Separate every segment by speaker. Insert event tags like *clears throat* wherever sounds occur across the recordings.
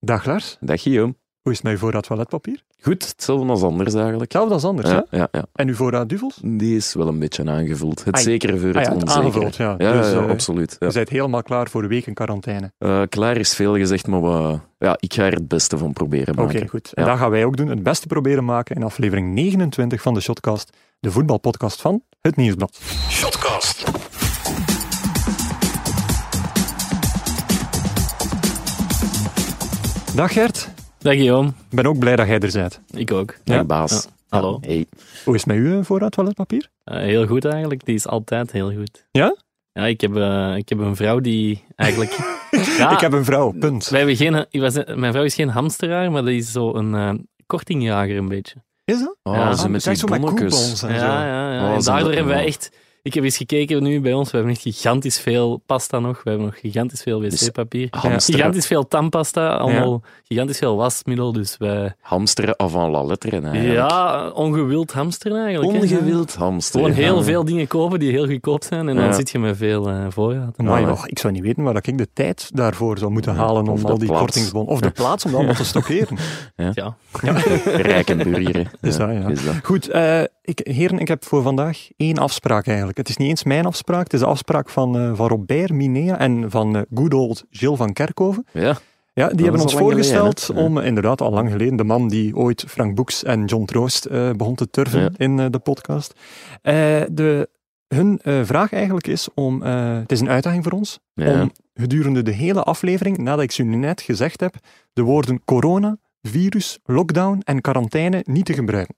Speaker 1: Dag Lars,
Speaker 2: Dag Guillaume.
Speaker 1: hoe is het met uw voorraad toiletpapier?
Speaker 2: Goed, hetzelfde als anders eigenlijk.
Speaker 1: Ja, dat is anders. Hè?
Speaker 2: ja, ja, ja.
Speaker 1: En uw voorraad duvels?
Speaker 2: Die is wel een beetje aangevuld. Het
Speaker 1: Ah,
Speaker 2: zekere voor het
Speaker 1: Ah ja, het
Speaker 2: onzekere.
Speaker 1: aangevuld, ja.
Speaker 2: Ja,
Speaker 1: dus
Speaker 2: ja,
Speaker 1: eh,
Speaker 2: absoluut. Ja.
Speaker 1: je bent helemaal klaar voor een week in quarantaine.
Speaker 2: Eh, klaar is veel gezegd, maar we- ja, ik ga er het beste van proberen
Speaker 1: Oké,
Speaker 2: maken.
Speaker 1: goed. En
Speaker 2: Ja.
Speaker 1: dat gaan wij ook doen. Het beste proberen maken in aflevering 29 van de Shotcast, de voetbalpodcast van het Nieuwsblad. Shotcast. Dag Gert,
Speaker 3: Dag Guillaume,
Speaker 1: ik ben ook blij dat jij er bent.
Speaker 3: ik ook.
Speaker 2: Dag,
Speaker 1: Ja?
Speaker 2: baas.
Speaker 3: Ja. Hallo.
Speaker 2: Ja, hey.
Speaker 1: Hoe is het met uw eh, voorraad toiletpapier?
Speaker 3: Eh, heel goed eigenlijk, die is altijd heel goed.
Speaker 1: Ja?
Speaker 3: Ja, ik heb, eh, ik heb een vrouw die eigenlijk... ja,
Speaker 1: Ik heb een vrouw, punt.
Speaker 3: wij hebben geen, ik was, mijn vrouw is geen hamsteraar, maar die is zo een eh, kortingjager een beetje.
Speaker 1: Is dat?
Speaker 2: Oh,
Speaker 3: Ja.
Speaker 2: ze met
Speaker 1: Zijn
Speaker 2: die
Speaker 1: Ah, zo met
Speaker 2: bonnetjes.
Speaker 1: coupons en
Speaker 3: ja,
Speaker 1: zo.
Speaker 3: ja, ja.
Speaker 2: Oh,
Speaker 3: en
Speaker 2: dat is
Speaker 3: daardoor
Speaker 2: een-
Speaker 3: hebben wij echt... Ik heb eens gekeken nu bij ons, we hebben echt gigantisch veel pasta nog. We hebben nog gigantisch veel wc-papier.
Speaker 2: hamsteren.
Speaker 3: Gigantisch veel tandpasta, allemaal gigantisch veel wasmiddel. Dus wij...
Speaker 2: Hamsteren avant la letteren eigenlijk.
Speaker 3: Ja, ongewild hamsteren eigenlijk. hè.
Speaker 2: Ongewild hamsteren.
Speaker 3: Gewoon heel
Speaker 2: Ja.
Speaker 3: veel dingen kopen die heel goedkoop zijn en
Speaker 2: Ja.
Speaker 3: dan zit je met veel eh, voorraad.
Speaker 1: Amai,
Speaker 2: Ja.
Speaker 1: och, ik zou niet weten waar ik de tijd daarvoor zou moeten halen
Speaker 2: of
Speaker 1: om
Speaker 2: de
Speaker 1: al die
Speaker 2: plaats.
Speaker 1: kortingsbonnen... Of de plaats om dat
Speaker 2: *laughs*
Speaker 1: allemaal te stockeren.
Speaker 3: Ja.
Speaker 2: *laughs* Rijke burgeren.
Speaker 1: Is dat, ja.
Speaker 2: Is dat.
Speaker 1: Goed, eh, ik, heren, ik heb voor vandaag één afspraak eigenlijk. Het is niet eens mijn afspraak, het is de afspraak van, eh, van Robert Minea en van eh, good old Gilles van Kerkhoven.
Speaker 2: Ja.
Speaker 1: Ja, die
Speaker 2: is
Speaker 1: hebben ons
Speaker 2: al lang
Speaker 1: voorgesteld
Speaker 2: geleden, hè?
Speaker 1: om, eh, inderdaad al lang geleden, de man die ooit Frank Boeks en John Troost eh, begon te turven
Speaker 2: Ja.
Speaker 1: in eh, de podcast. Eh, de, hun eh, vraag eigenlijk is om, eh, het is een uitdaging voor ons,
Speaker 2: Ja.
Speaker 1: om gedurende de hele aflevering, nadat ik ze nu net gezegd heb, de woorden corona, virus, lockdown en quarantaine niet te gebruiken.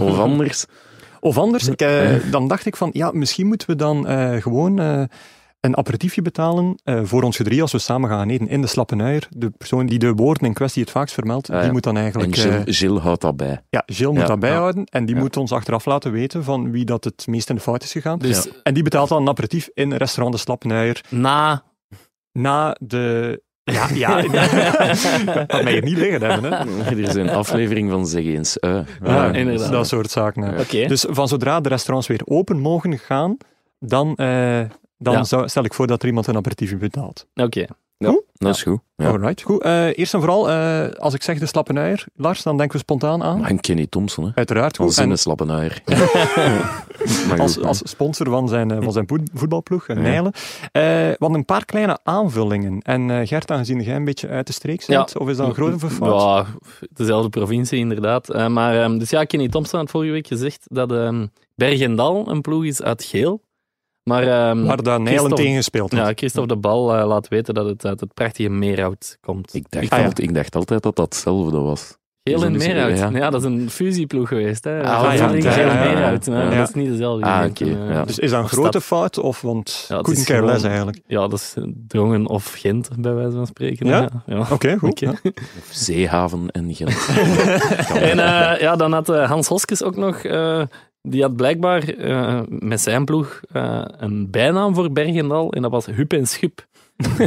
Speaker 2: Of anders.
Speaker 1: Of anders, ik, eh, dan dacht ik van, ja, misschien moeten we dan eh, gewoon eh, een aperitiefje betalen eh, voor ons gedrie als we samen gaan eten in de Slappenuier. De persoon die de woorden in kwestie het vaakst vermeldt,
Speaker 2: Ah, ja.
Speaker 1: die moet dan
Speaker 2: En
Speaker 1: eigenlijk... eh,
Speaker 2: Gilles, Gilles houdt dat bij.
Speaker 1: ja, Gilles moet
Speaker 2: Ja,
Speaker 1: dat
Speaker 2: ja.
Speaker 1: bijhouden en die
Speaker 2: Ja.
Speaker 1: moet ons achteraf laten weten van wie dat het meest in de fout is gegaan.
Speaker 3: Dus
Speaker 1: En die betaalt dan een aperitief in restaurant de Slappenuier
Speaker 3: na...
Speaker 1: na de... Ja,
Speaker 2: *laughs*
Speaker 1: ja. dat mag je niet liggen hebben, hè. dus
Speaker 2: Er is een aflevering van Zeg eens. eh.
Speaker 1: Ah,
Speaker 3: Ja, inderdaad.
Speaker 1: Dat soort zaken. hè.
Speaker 2: Ja.
Speaker 3: Oké.
Speaker 1: Dus van zodra de restaurants weer open mogen gaan, dan, eh, dan
Speaker 3: Ja.
Speaker 1: zou, stel ik voor dat er iemand een aperitiefje betaalt.
Speaker 3: Oké.
Speaker 2: Dat is goed. Ja.
Speaker 1: Alright, goed. Eh, eerst en vooral, eh, als ik zeg de slappenuier, Lars, dan denken we spontaan aan.
Speaker 2: Maar een Kenny Thompson, hè?
Speaker 1: Uiteraard.
Speaker 2: Van
Speaker 1: Goed. En
Speaker 2: zin is
Speaker 1: *laughs*
Speaker 2: lappenaar. Maar
Speaker 1: als,
Speaker 2: goed,
Speaker 1: als sponsor van zijn, eh, van zijn voet- voetbalploeg, eh,
Speaker 2: Ja.
Speaker 1: Nijlen. Eh, want een paar kleine aanvullingen. En eh Gert, aangezien jij een beetje uit de streek zit, of is dat een grote verfout?
Speaker 3: Ja, dezelfde provincie inderdaad. Eh, maar, ehm, dus ja, Kenny Thompson had vorige week gezegd dat ehm Bergendal een ploeg is uit Geel. Maar ehm,
Speaker 1: Waar dat Nijlen
Speaker 3: Christophe-
Speaker 1: tegen gespeeld heeft.
Speaker 3: ja, Christophe de Bal eh, laat weten dat het uit het prachtige Meerhout komt.
Speaker 2: ik, dacht
Speaker 1: Ah, ja.
Speaker 2: altijd, ik dacht altijd dat dat hetzelfde was.
Speaker 3: Geel en
Speaker 2: Dus dat is-
Speaker 3: Meerhout.
Speaker 2: ja.
Speaker 3: Ja. dat is een fusieploeg geweest. Hè.
Speaker 2: Ah,
Speaker 3: Van
Speaker 1: ja,
Speaker 3: Geel en
Speaker 1: ja, ja, ja.
Speaker 3: Meerhout. nou,
Speaker 2: Ja.
Speaker 3: Dat is niet dezelfde.
Speaker 2: Ah,
Speaker 3: ik denk,
Speaker 2: oké,
Speaker 3: eh,
Speaker 2: ja.
Speaker 1: Dus is dat een
Speaker 3: Of
Speaker 1: grote
Speaker 3: stad.
Speaker 1: fout? Of, want
Speaker 3: Ja, het
Speaker 1: couldn't
Speaker 3: is
Speaker 1: care
Speaker 3: gewoon-
Speaker 1: less eigenlijk.
Speaker 3: Ja, dat is Drongen of Gent, bij wijze van spreken.
Speaker 1: Ja?
Speaker 3: ja.
Speaker 1: Oké, goed.
Speaker 3: Oké.
Speaker 1: Ja.
Speaker 2: Of Zeehaven
Speaker 1: *laughs*
Speaker 2: en Gent.
Speaker 3: En eh, ja, dan had eh, Hans Hoskes ook nog... eh, die had blijkbaar eh, met zijn ploeg eh, een bijnaam voor Bergendal. En dat was Hup en
Speaker 1: *laughs*
Speaker 3: Schip.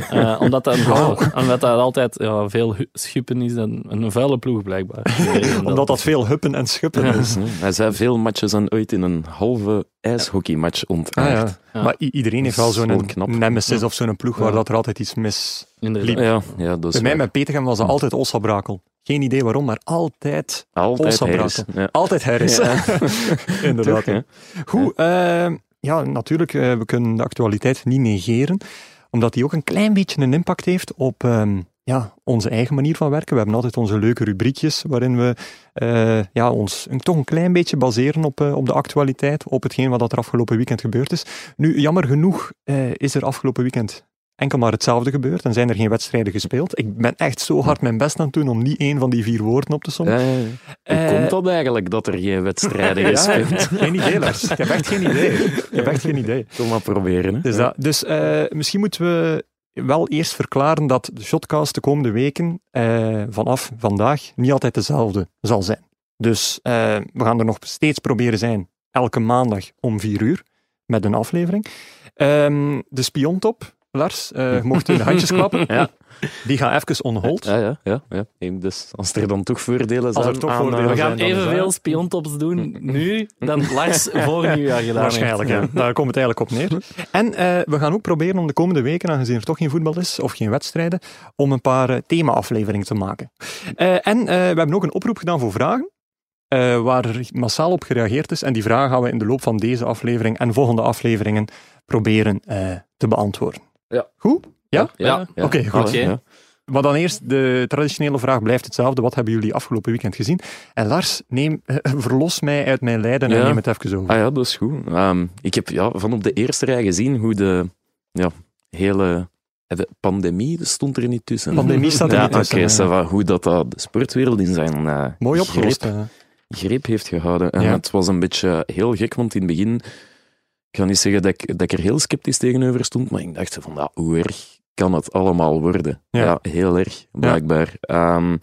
Speaker 3: Eh, omdat, dat,
Speaker 1: Oh.
Speaker 3: omdat dat altijd ja, veel hu- schuppen is. En een vuile ploeg, blijkbaar. Bergendal.
Speaker 1: *laughs* Omdat dat veel huppen en schuppen
Speaker 3: Ja.
Speaker 1: is.
Speaker 2: Hij zei veel matches zijn ooit in een halve ijshockeymatch
Speaker 1: Ah,
Speaker 2: ontaard.
Speaker 1: ja. Maar i- iedereen heeft
Speaker 2: Dat
Speaker 1: wel
Speaker 2: is wel
Speaker 1: zo'n
Speaker 2: knap.
Speaker 1: nemesis of zo'n ploeg waar
Speaker 3: Ja.
Speaker 1: dat er altijd iets mis.
Speaker 3: Inderdaad.
Speaker 2: ja. ja, dus dat is
Speaker 1: Bij mij
Speaker 2: waar.
Speaker 1: met Petergem was dat altijd Ossa Brakel. Geen idee waarom, maar altijd,
Speaker 2: altijd
Speaker 1: Olsa
Speaker 2: Harris. Ja.
Speaker 1: altijd Harris. *laughs* Inderdaad.
Speaker 2: Toch, hè?
Speaker 1: Goed, eh, ja, natuurlijk, eh, we kunnen de actualiteit niet negeren, omdat die ook een klein beetje een impact heeft op ehm, ja, onze eigen manier van werken. We hebben altijd onze leuke rubriekjes waarin we eh, ja, ons een, toch een klein beetje baseren op, eh, op de actualiteit, op hetgeen wat dat er afgelopen weekend gebeurd is. Nu, jammer genoeg eh, is er afgelopen weekend enkel maar hetzelfde gebeurd en zijn er geen wedstrijden gespeeld. Ik ben echt zo hard mijn best aan het doen om niet één van die vier woorden op te sommen.
Speaker 2: Ja, ja, ja. Hoe
Speaker 1: Eh,
Speaker 2: komt dat eigenlijk dat er geen
Speaker 1: *laughs*
Speaker 2: wedstrijden
Speaker 1: ja,
Speaker 2: gespeeld?
Speaker 1: geen idee, Lars. Ik heb echt geen idee. Ik heb echt geen idee.
Speaker 2: Kom maar proberen. Hè.
Speaker 1: Dus, dat, dus eh, misschien moeten we wel eerst verklaren dat de shotcast de komende weken eh, vanaf vandaag niet altijd dezelfde zal zijn. Dus eh, we gaan er nog steeds proberen zijn, elke maandag om vier uur, met een aflevering. Ehm, de Spiontop Lars, eh, je mocht in de handjes klappen.
Speaker 2: Ja.
Speaker 1: Die gaan even on hold.
Speaker 2: Ja, ja, ja, ja. Neem Dus als er dan toch voordelen
Speaker 1: er
Speaker 2: zijn...
Speaker 1: toch
Speaker 2: aan,
Speaker 1: voordelen
Speaker 2: eh,
Speaker 3: We gaan
Speaker 1: zijn dan
Speaker 3: evenveel
Speaker 1: waar.
Speaker 3: spiontops doen nu dan
Speaker 1: *laughs*
Speaker 3: Lars voor nieuwjaar gedaan
Speaker 1: Waarschijnlijk,
Speaker 3: heeft.
Speaker 1: ja. daar komt het eigenlijk op neer. En eh, we gaan ook proberen om de komende weken, aangezien er toch geen voetbal is of geen wedstrijden, om een paar eh, thema-afleveringen te maken. Eh, en eh, we hebben ook een oproep gedaan voor vragen, eh, waar massaal op gereageerd is. En die vragen gaan we in de loop van deze aflevering en volgende afleveringen proberen eh, te beantwoorden.
Speaker 2: Ja.
Speaker 1: Goed? Ja?
Speaker 2: Ja, ja.
Speaker 1: Oké, goed.
Speaker 2: Oké. Ja.
Speaker 1: Maar dan eerst, de traditionele vraag blijft hetzelfde. Wat hebben jullie afgelopen weekend gezien? En Lars, neem, *laughs* eh, verlos mij uit mijn lijden en
Speaker 2: Ja.
Speaker 1: neem het even over.
Speaker 2: Ah ja, dat is goed. Ehm, ik heb ja, van op de eerste rij gezien hoe de ja, hele eh, de pandemie stond er niet tussen.
Speaker 1: Pandemie staat er
Speaker 2: Ah, ja,
Speaker 1: niet tussen,
Speaker 2: oké,
Speaker 1: eh.
Speaker 2: ça va. hoe dat, dat de sportwereld in zijn eh,
Speaker 1: Mooi opgelost.
Speaker 2: greep,
Speaker 1: eh.
Speaker 2: greep heeft gehouden. En
Speaker 1: Ja.
Speaker 2: het was een beetje heel gek, want in het begin, ik ga niet zeggen dat ik, dat ik er heel sceptisch tegenover stond, maar ik dacht van, ja, hoe erg kan het allemaal worden?
Speaker 1: Ja.
Speaker 2: Ja, heel erg, blijkbaar. Ehm,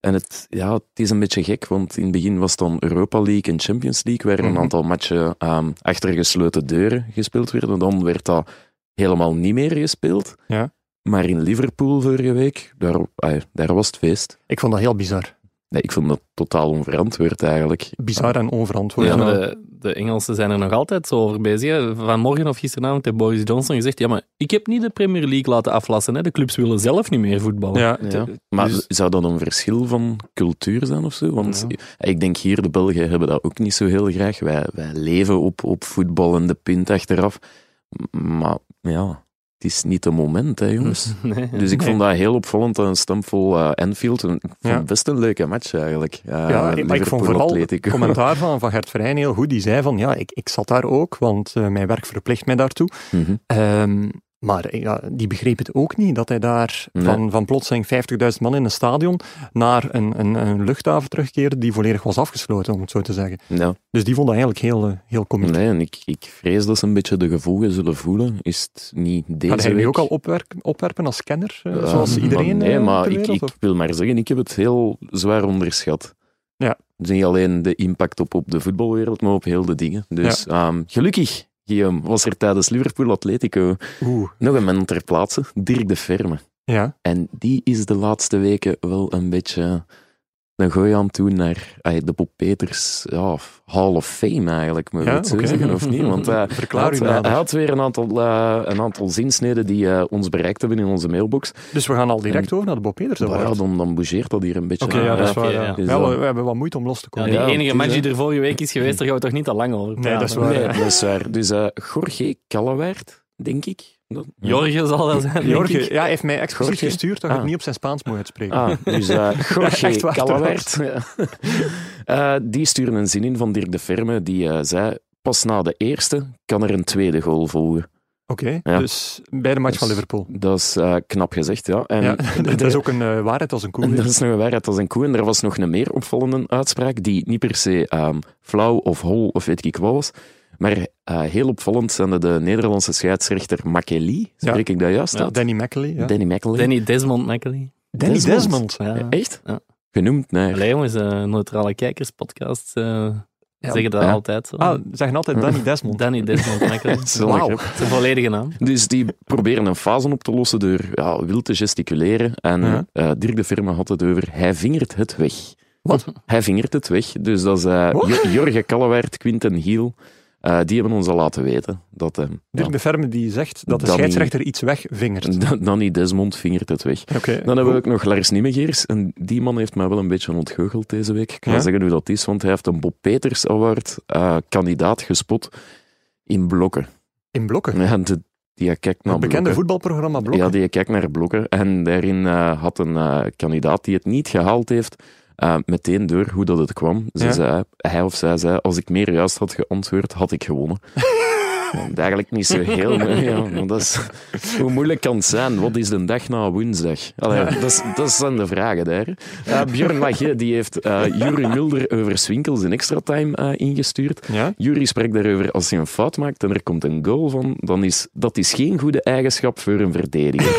Speaker 2: en het, ja, het is een beetje gek, want in het begin was het dan Europa League en Champions League, waar
Speaker 1: Mhm.
Speaker 2: een aantal matchen ehm, achter gesloten deuren gespeeld werden. Dan werd dat helemaal niet meer gespeeld.
Speaker 1: Ja.
Speaker 2: Maar in Liverpool vorige week, daar, ah, daar was het feest.
Speaker 1: Ik vond dat heel bizar.
Speaker 2: Nee, ik vond dat totaal onverantwoord eigenlijk.
Speaker 1: Bizar en onverantwoord.
Speaker 3: Ja,
Speaker 1: Ja,
Speaker 3: maar de, de Engelsen zijn er nog altijd zo over bezig. hè. Vanmorgen of gisteravond heeft Boris Johnson gezegd: Ja, maar ik heb niet de Premier League laten aflassen. Hè. De clubs willen zelf niet meer voetballen.
Speaker 1: ja.
Speaker 2: Ja. Maar
Speaker 3: dus-
Speaker 2: zou dat een verschil van cultuur zijn of zo? Want ik denk hier, de Belgen hebben dat ook niet zo heel graag. Wij, wij leven op, op voetbal en de punt achteraf. M- Maar ja, het is niet het moment, hè
Speaker 1: *laughs*
Speaker 2: jongens.
Speaker 3: *laughs* Nee.
Speaker 2: Dus ik
Speaker 1: Nee.
Speaker 2: vond dat heel opvond, een stamvol eh Enfield. En Ik vond
Speaker 1: Ja.
Speaker 2: het best een leuke match eigenlijk. Eh,
Speaker 1: maar ik vond
Speaker 2: Liverpool
Speaker 1: vooral
Speaker 2: Atletico.
Speaker 1: Commentaar van, van Gert Verheyen heel goed. Die zei van, ja, ik, ik zat daar ook, want eh, mijn werk verplicht mij daartoe.
Speaker 2: *laughs* Mhm.
Speaker 1: Ehm, maar eh, ja, die begreep het ook niet, dat hij daar
Speaker 2: Nee.
Speaker 1: van, van plotseling 50.000 man in een stadion naar een, een, een luchthaven terugkeerde die volledig was afgesloten, om het zo te zeggen.
Speaker 2: Ja.
Speaker 1: Dus die vond dat eigenlijk heel, eh, heel komiek.
Speaker 2: Nee, en ik, ik vrees dat ze een beetje de gevolgen zullen voelen. Is het niet deze
Speaker 1: Gaat hij nu
Speaker 2: week?
Speaker 1: ook al opwerken, opwerpen als kenner, eh,
Speaker 2: Eh,
Speaker 1: zoals
Speaker 2: maar
Speaker 1: iedereen
Speaker 2: Nee,
Speaker 1: eh,
Speaker 2: maar
Speaker 1: ter
Speaker 2: ik,
Speaker 1: wereld,
Speaker 2: ik
Speaker 1: of?
Speaker 2: wil maar zeggen, ik heb het heel zwaar onderschat.
Speaker 1: Ja.
Speaker 2: Dus niet alleen de impact op, op de voetbalwereld, maar op heel de dingen. Dus ehm, gelukkig, Guillaume, was er tijdens Liverpool Atletico
Speaker 1: Oeh,
Speaker 2: nog een man ter plaatse, Dirk de Verme.
Speaker 1: ja.
Speaker 2: En die is de laatste weken wel een beetje een gooi aan toe naar ah, de Bob Peters ja, of Hall of Fame eigenlijk, moet je
Speaker 1: Ja,
Speaker 2: het zo
Speaker 1: oké.
Speaker 2: zeggen, of niet?
Speaker 1: *laughs*
Speaker 2: Want eh,
Speaker 1: Verklaar u nou
Speaker 2: hij, had,
Speaker 1: nader.
Speaker 2: hij had weer een aantal, eh, een aantal zinsneden die eh, ons bereikt hebben in onze mailbox.
Speaker 1: Dus we gaan al direct over naar de Bob Peters
Speaker 2: Maar ja,
Speaker 1: Award.
Speaker 2: dan, dan bougeert dat hier een beetje.
Speaker 1: Oké, ja, dat is
Speaker 3: Ja,
Speaker 1: waar.
Speaker 3: oké,
Speaker 1: ja.
Speaker 3: ja.
Speaker 2: Dus
Speaker 1: Ja,
Speaker 2: dan-
Speaker 1: we, we hebben wat moeite om los te
Speaker 3: Ja,
Speaker 1: komen.
Speaker 3: die
Speaker 2: Ja, het
Speaker 3: enige
Speaker 2: is,
Speaker 3: match die
Speaker 2: hè.
Speaker 3: er vorige week is geweest, daar gaan we toch niet al lang over
Speaker 1: Nee, dat is
Speaker 3: praten.
Speaker 1: waar.
Speaker 2: Nee,
Speaker 1: ja.
Speaker 2: dat is waar. Dus eh Jorge Callewaert, denk ik. Dat-
Speaker 3: Jorge zal dat zijn. denk
Speaker 1: Jorge,
Speaker 3: ik.
Speaker 1: ja, hij heeft mij expliciet
Speaker 2: Jorge?
Speaker 1: gestuurd dat ik het
Speaker 2: Ah.
Speaker 1: niet op zijn Spaans moet uitspreken.
Speaker 2: Ah, *laughs* dus eh
Speaker 1: *laughs*
Speaker 2: Jorge
Speaker 1: Echt waar,
Speaker 2: Callewaert. *laughs* Eh, die stuurde een zin in van Dirk de Verme, die eh, zei... Pas na de eerste kan er een tweede goal volgen.
Speaker 1: Oké,
Speaker 2: Ja.
Speaker 1: dus bij de match van
Speaker 2: Dus-
Speaker 1: Liverpool.
Speaker 2: Dat is eh, knap gezegd, ja. En
Speaker 1: Ja, *laughs* dat is ook een eh, waarheid als een koe.
Speaker 2: En dat is nog een waarheid als een koe. En er was nog een meer opvallende uitspraak, die niet per se ehm, flauw of hol of weet ik wat was. Maar eh, heel opvallend zijn de, de Nederlandse scheidsrechter Makeli, spreek ik dat juist
Speaker 3: Ja,
Speaker 2: uit?
Speaker 1: Danny McAlee. Ja.
Speaker 2: Danny Makeli.
Speaker 3: Danny Desmond McAlee.
Speaker 1: Danny
Speaker 2: Desmond.
Speaker 3: Ja.
Speaker 2: Ja, Echt?
Speaker 3: Ja.
Speaker 2: Genoemd naar...
Speaker 3: Allee jongens, eh, neutrale kijkerspodcast eh, zeggen dat
Speaker 2: Ja.
Speaker 3: altijd zo.
Speaker 1: Ah, ze zeggen altijd
Speaker 2: *laughs*
Speaker 1: Danny Desmond.
Speaker 3: Danny Desmond McAlee.
Speaker 2: Dat is wel een
Speaker 1: Wauw.
Speaker 2: grap.
Speaker 3: Zijn volledige naam.
Speaker 2: Dus die proberen een fase op te lossen door ja, wild te gesticuleren. En
Speaker 1: Ja.
Speaker 2: eh, Dirk de Firma had het over, hij vingert het weg.
Speaker 1: Wat?
Speaker 2: Hij vingert het weg. Dus dat is eh,
Speaker 1: Wat?
Speaker 2: Jo- Jorge Callewaert, Quinten Hiel. eh, die hebben ons al laten weten dat eh,
Speaker 1: Dirk
Speaker 2: ja,
Speaker 1: de Verme die zegt dat de
Speaker 2: Danny-
Speaker 1: scheidsrechter iets wegvingert. Oké.
Speaker 2: *laughs* Dan- Danny Desmond vingert het weg. Dan hebben we ook nog Lars Nimmegeers. En die man heeft mij wel een beetje ontgoocheld deze week. Ik kan
Speaker 1: Ja?
Speaker 2: zeggen hoe dat is, want hij heeft een Bob Peters Award eh, kandidaat gespot in
Speaker 1: *laughs*
Speaker 2: blokken.
Speaker 1: In blokken.
Speaker 2: Ja, de- die kijkt naar
Speaker 1: het bekende
Speaker 2: blokken.
Speaker 1: voetbalprogramma blokken.
Speaker 2: Ja, die kijkt naar blokken. En daarin eh, had een eh, kandidaat die het niet gehaald heeft, eh, meteen door hoe dat het kwam. Ze
Speaker 1: Ja.
Speaker 2: zei, hij of zij zei, als ik meer juist had geantwoord, had ik gewonnen. Want eigenlijk niet zo heel. maar ja, maar dat is, hoe moeilijk kan het zijn? Wat is de dag na woensdag? Allee, dat, is, dat zijn de vragen daar. Eh Björn Lagge die heeft eh Jury Mulder over Swinkels in extra time eh, ingestuurd.
Speaker 1: Ja?
Speaker 2: Jury spreekt daarover als hij een fout maakt en er
Speaker 1: *laughs*
Speaker 2: komt een goal van, dan is dat is geen goede eigenschap voor een verdediger.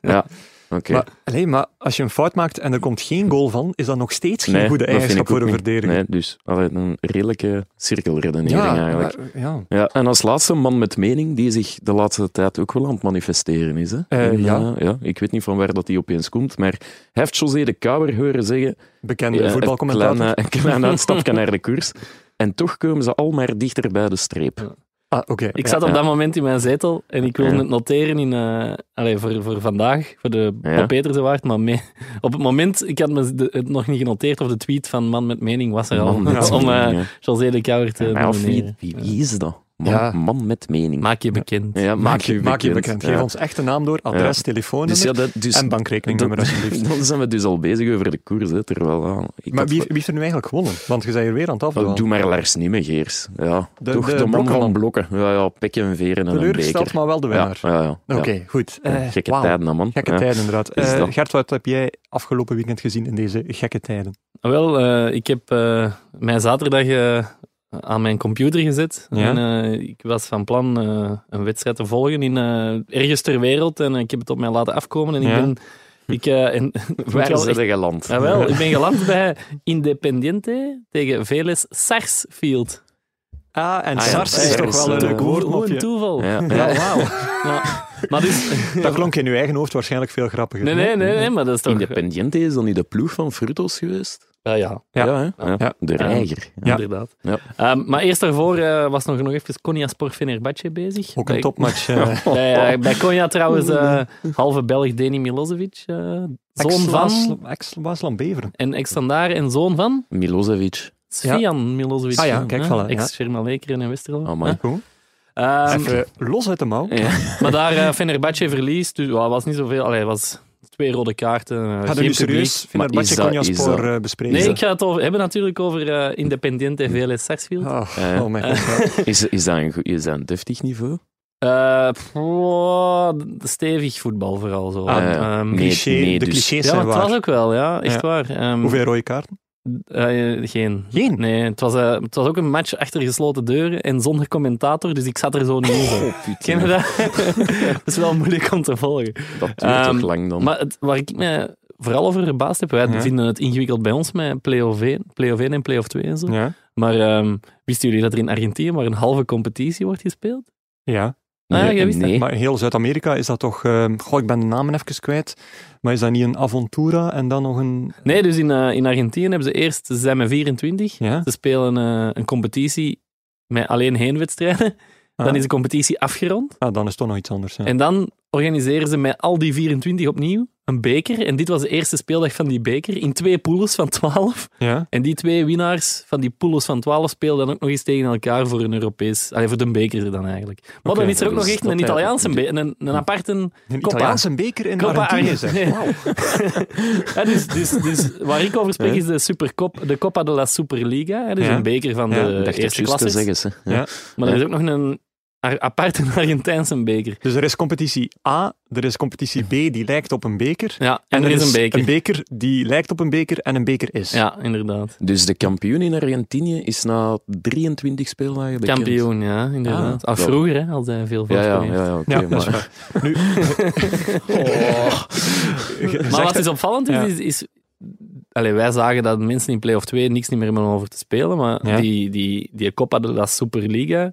Speaker 2: ja. Oké.
Speaker 1: Maar, allee, maar als je een fout maakt en er komt geen goal van, is dat nog steeds geen
Speaker 2: Nee,
Speaker 1: goede
Speaker 2: dat vind
Speaker 1: eigenschap
Speaker 2: ik
Speaker 1: voor
Speaker 2: ook
Speaker 1: een
Speaker 2: niet.
Speaker 1: verdediger.
Speaker 2: Nee, dus allee, een redelijke cirkelredenering eigenlijk.
Speaker 1: maar- ja.
Speaker 2: Ja, en als laatste een man met mening die zich de laatste tijd ook wel aan het manifesteren is. Hè?
Speaker 1: Eh,
Speaker 2: En,
Speaker 1: ja.
Speaker 2: eh, ja. Ik weet niet van waar dat die opeens komt, maar hij heeft José de Kouwer horen zeggen
Speaker 1: Bekende
Speaker 2: Ja,
Speaker 1: voetbalcommentator.
Speaker 2: Een klein, eh, een klein uitstapje naar de koers. En toch komen ze al maar dichter bij de streep.
Speaker 1: Ah, oké.
Speaker 3: Ik
Speaker 1: Ja.
Speaker 3: zat op
Speaker 2: Ja.
Speaker 3: dat moment in mijn zetel en ik wilde
Speaker 2: Ja.
Speaker 3: het noteren in, eh, allee, voor, voor vandaag, voor de
Speaker 2: Ja.
Speaker 3: Paul Petersenwaard, maar mee- *laughs* op het moment, ik had me de- het nog niet genoteerd of de tweet van Man met Mening was er al,
Speaker 2: Man met
Speaker 3: *laughs* om eh,
Speaker 2: mening,
Speaker 3: José de Kouwer te
Speaker 2: hè. Maar of wie,
Speaker 3: nomineren.
Speaker 2: wie, wie is dat? Man,
Speaker 1: Ja.
Speaker 2: man met mening.
Speaker 3: eh, Maak je bekend.
Speaker 2: ja,
Speaker 1: Maak je, maak je bekend. Geef
Speaker 2: ja.
Speaker 1: ons echte naam door, adres, telefoonnummer
Speaker 2: Dus ja, dat, dus, *laughs*
Speaker 1: en bankrekeningnummer, alsjeblieft.
Speaker 2: dan zijn we dus al bezig over de koers. Hè, terwijl, ah, ik
Speaker 1: Maar
Speaker 2: had
Speaker 1: wie, wie heeft er nu eigenlijk gewonnen? Want je bent hier weer aan het
Speaker 2: Oh,
Speaker 1: afdwalen.
Speaker 2: doe maar Lars Nimmegeers. Ja,
Speaker 1: De-
Speaker 2: toch
Speaker 1: de
Speaker 2: de, man
Speaker 1: blokkenman.
Speaker 2: van blokken. Ja, ja, pek en veren en een
Speaker 1: Teleurgesteld,
Speaker 2: beker.
Speaker 1: maar wel de
Speaker 2: Ja,
Speaker 1: winnaar.
Speaker 2: ja, ja, ja.
Speaker 1: Oké, goed.
Speaker 2: Ja,
Speaker 1: Eh,
Speaker 2: gekke
Speaker 1: wauw.
Speaker 2: tijden, hè, man.
Speaker 1: Gekke
Speaker 2: Ja.
Speaker 1: tijden, inderdaad.
Speaker 2: Is
Speaker 1: Eh,
Speaker 2: dat-
Speaker 1: Gert, wat heb jij afgelopen weekend gezien in deze gekke tijden?
Speaker 3: Wel, eh, ik heb eh, mijn zaterdag eh, aan mijn computer gezet.
Speaker 1: Ja.
Speaker 3: En, eh, ik was van plan eh, een wedstrijd te volgen in eh, ergens ter wereld. En eh, ik heb het op mij laten afkomen. En
Speaker 1: Ja.
Speaker 3: ik ben... Ik, eh, en,
Speaker 2: *laughs*
Speaker 3: *laughs*
Speaker 2: Waar
Speaker 3: wel
Speaker 2: is
Speaker 3: echt-
Speaker 2: dat geland?
Speaker 3: Jawel, ik ben geland bij Independiente tegen Veles Sarsfield.
Speaker 1: Ah, en
Speaker 2: Ah, ja,
Speaker 1: SARS is
Speaker 2: SARS,
Speaker 1: toch wel een
Speaker 2: eh,
Speaker 1: leuk
Speaker 3: Hoe- Hoe
Speaker 1: woordmopje.
Speaker 3: een toeval.
Speaker 2: Ja, ja.
Speaker 1: Ja, wauw.
Speaker 2: *laughs*
Speaker 3: Maar
Speaker 1: *laughs*
Speaker 3: dus...
Speaker 1: Dat klonk in uw eigen hoofd waarschijnlijk veel grappiger.
Speaker 3: Nee, nee, nee, nee, maar dat is toch...
Speaker 2: Independiente is dan niet de ploeg van Frutos geweest?
Speaker 3: Ja, ja,
Speaker 1: Ja.
Speaker 2: hè? Ja.
Speaker 1: Ja.
Speaker 2: De reiger. Ja.
Speaker 3: inderdaad.
Speaker 2: Ja.
Speaker 3: Ehm, maar eerst daarvoor eh, was nog, nog even Konyaspor Fenerbahce bezig.
Speaker 1: Ook een
Speaker 3: Ik-
Speaker 1: topmatch.
Speaker 2: *laughs*
Speaker 1: eh
Speaker 3: Bij, eh, bij Konya trouwens,
Speaker 1: *laughs*
Speaker 3: eh, halve Belg Deni Milosevic. eh, zoon van.
Speaker 1: Ex-Waasland Beveren.
Speaker 3: En ex-standaar en zoon van.
Speaker 2: Milosevic.
Speaker 3: Svian Milosevic.
Speaker 1: Ah ja, kijk,
Speaker 3: hè,
Speaker 1: voilà, ja.
Speaker 3: Ex-Sherma Lekeren en Westerlo.
Speaker 2: Amai.
Speaker 3: hè.
Speaker 1: Goed.
Speaker 3: Ehm,
Speaker 1: Even los uit de mouw.
Speaker 3: maar daar eh Fenerbahce verliest. Dus, ja, was niet zoveel. Allee, was twee rode kaarten. eh, geen
Speaker 1: Gaat er nu
Speaker 3: publiek.
Speaker 1: serieus
Speaker 2: Maar
Speaker 1: Fenerbahce
Speaker 2: is dat- is dat-
Speaker 1: Konjaspoor eh, bespreken?
Speaker 3: Nee, ik ga het over, hebben natuurlijk over eh Independiente VLS Sarsfield.
Speaker 1: Oh,
Speaker 2: Eh.
Speaker 1: oh mijn god. ja.
Speaker 2: Is, is, dat een, goe- is dat een deftig niveau?
Speaker 3: Eh, pff, stevig voetbal vooral zo.
Speaker 1: Ah,
Speaker 2: ja.
Speaker 3: Ehm,
Speaker 2: Nee,
Speaker 1: Cliché,
Speaker 2: nee,
Speaker 1: de
Speaker 2: dus-
Speaker 1: clichés
Speaker 3: ja, maar
Speaker 1: zijn
Speaker 3: het
Speaker 1: waar.
Speaker 3: was ook wel, ja, echt
Speaker 1: Ja.
Speaker 3: waar. Ehm,
Speaker 1: Hoeveel rode kaarten?
Speaker 3: eh, geen.
Speaker 1: Geen.
Speaker 3: Nee, het was, eh, het was ook een match achter gesloten deuren en zonder commentator, dus ik zat er zo niet
Speaker 1: *laughs*
Speaker 3: in. Oh, *laughs* Ken je
Speaker 2: dat?
Speaker 3: dat? dat is wel moeilijk om te volgen.
Speaker 2: duurt
Speaker 3: Ehm,
Speaker 2: toch lang dan?
Speaker 3: Maar het, waar ik me vooral over verbaasd heb, wij
Speaker 1: Ja.
Speaker 3: vinden het ingewikkeld bij ons met play-off 1, play-off 1 en play-off 2 en zo.
Speaker 1: Ja.
Speaker 3: Maar ehm, wisten jullie dat er in Argentinië maar een halve competitie wordt gespeeld?
Speaker 1: ja.
Speaker 3: Ah, jij wist
Speaker 2: nee.
Speaker 1: Maar heel Zuid-Amerika is dat toch... eh, goh, ik ben de namen even kwijt. Maar is dat niet een Aventura en dan nog een...
Speaker 3: Nee, dus in, eh, in Argentinië hebben ze eerst, ze zijn met 24,
Speaker 1: Ja?
Speaker 3: ze spelen eh, een competitie met alleen heenwedstrijden. *laughs* Dan
Speaker 1: Ah.
Speaker 3: is de competitie afgerond.
Speaker 1: Ah, dan is het toch nog iets anders. Ja.
Speaker 3: En dan organiseren ze met al die 24 opnieuw een beker. En dit was de eerste speeldag van die beker in twee pools van 12.
Speaker 1: Ja?
Speaker 3: En die twee winnaars van die pools van 12 speelden dan ook nog eens tegen elkaar voor een Europees. Allee, voor de beker dan eigenlijk. Maar
Speaker 1: Oké,
Speaker 3: dan is er ook
Speaker 2: dus
Speaker 3: nog echt
Speaker 2: dat
Speaker 3: een
Speaker 2: hij-
Speaker 3: Italiaanse be- een, een aparte.
Speaker 1: Een
Speaker 3: Coppa.
Speaker 1: Italiaanse beker in
Speaker 3: Coppa
Speaker 1: Argentinië, zeg.
Speaker 3: Argent- Nee.
Speaker 1: Wauw.
Speaker 3: Ja, dus, dus, dus
Speaker 2: *laughs*
Speaker 3: waar ik over spreek is de, Supercop, de Copa de la Superliga. Hè, dus
Speaker 1: Ja.
Speaker 3: een beker van
Speaker 1: Ja,
Speaker 3: de
Speaker 2: Ik dacht het
Speaker 3: eerste
Speaker 2: juist te
Speaker 3: klasse.
Speaker 2: zeggen ze.
Speaker 1: Ja.
Speaker 3: Maar er is ook nog een a- aparte *laughs* Argentijnse beker.
Speaker 1: Dus er is competitie A, er is competitie B die lijkt op een beker.
Speaker 3: Ja, en, er is een beker.
Speaker 1: Een beker die lijkt op een beker en een beker is.
Speaker 3: Ja, inderdaad.
Speaker 2: Dus de kampioen in Argentinië is na 23 speeldagen bekend.
Speaker 3: Kampioen, ja, inderdaad.
Speaker 2: Ah,
Speaker 3: Al
Speaker 2: ja.
Speaker 3: vroeger, hè, als hij veel van
Speaker 2: Ja, ja,
Speaker 3: gespeeld
Speaker 2: ja. ja, oké,
Speaker 1: Ja, dat is
Speaker 2: maar-
Speaker 1: waar. *laughs* Oh. Nu,
Speaker 3: Maar
Speaker 1: Zegt-
Speaker 3: wat dus opvallend is,
Speaker 1: Ja.
Speaker 3: is... is Allee, wij zagen dat mensen in play-off 2 niks niet meer hebben om over te spelen, maar
Speaker 1: Ja.
Speaker 3: die, die, die Copa de la Superliga,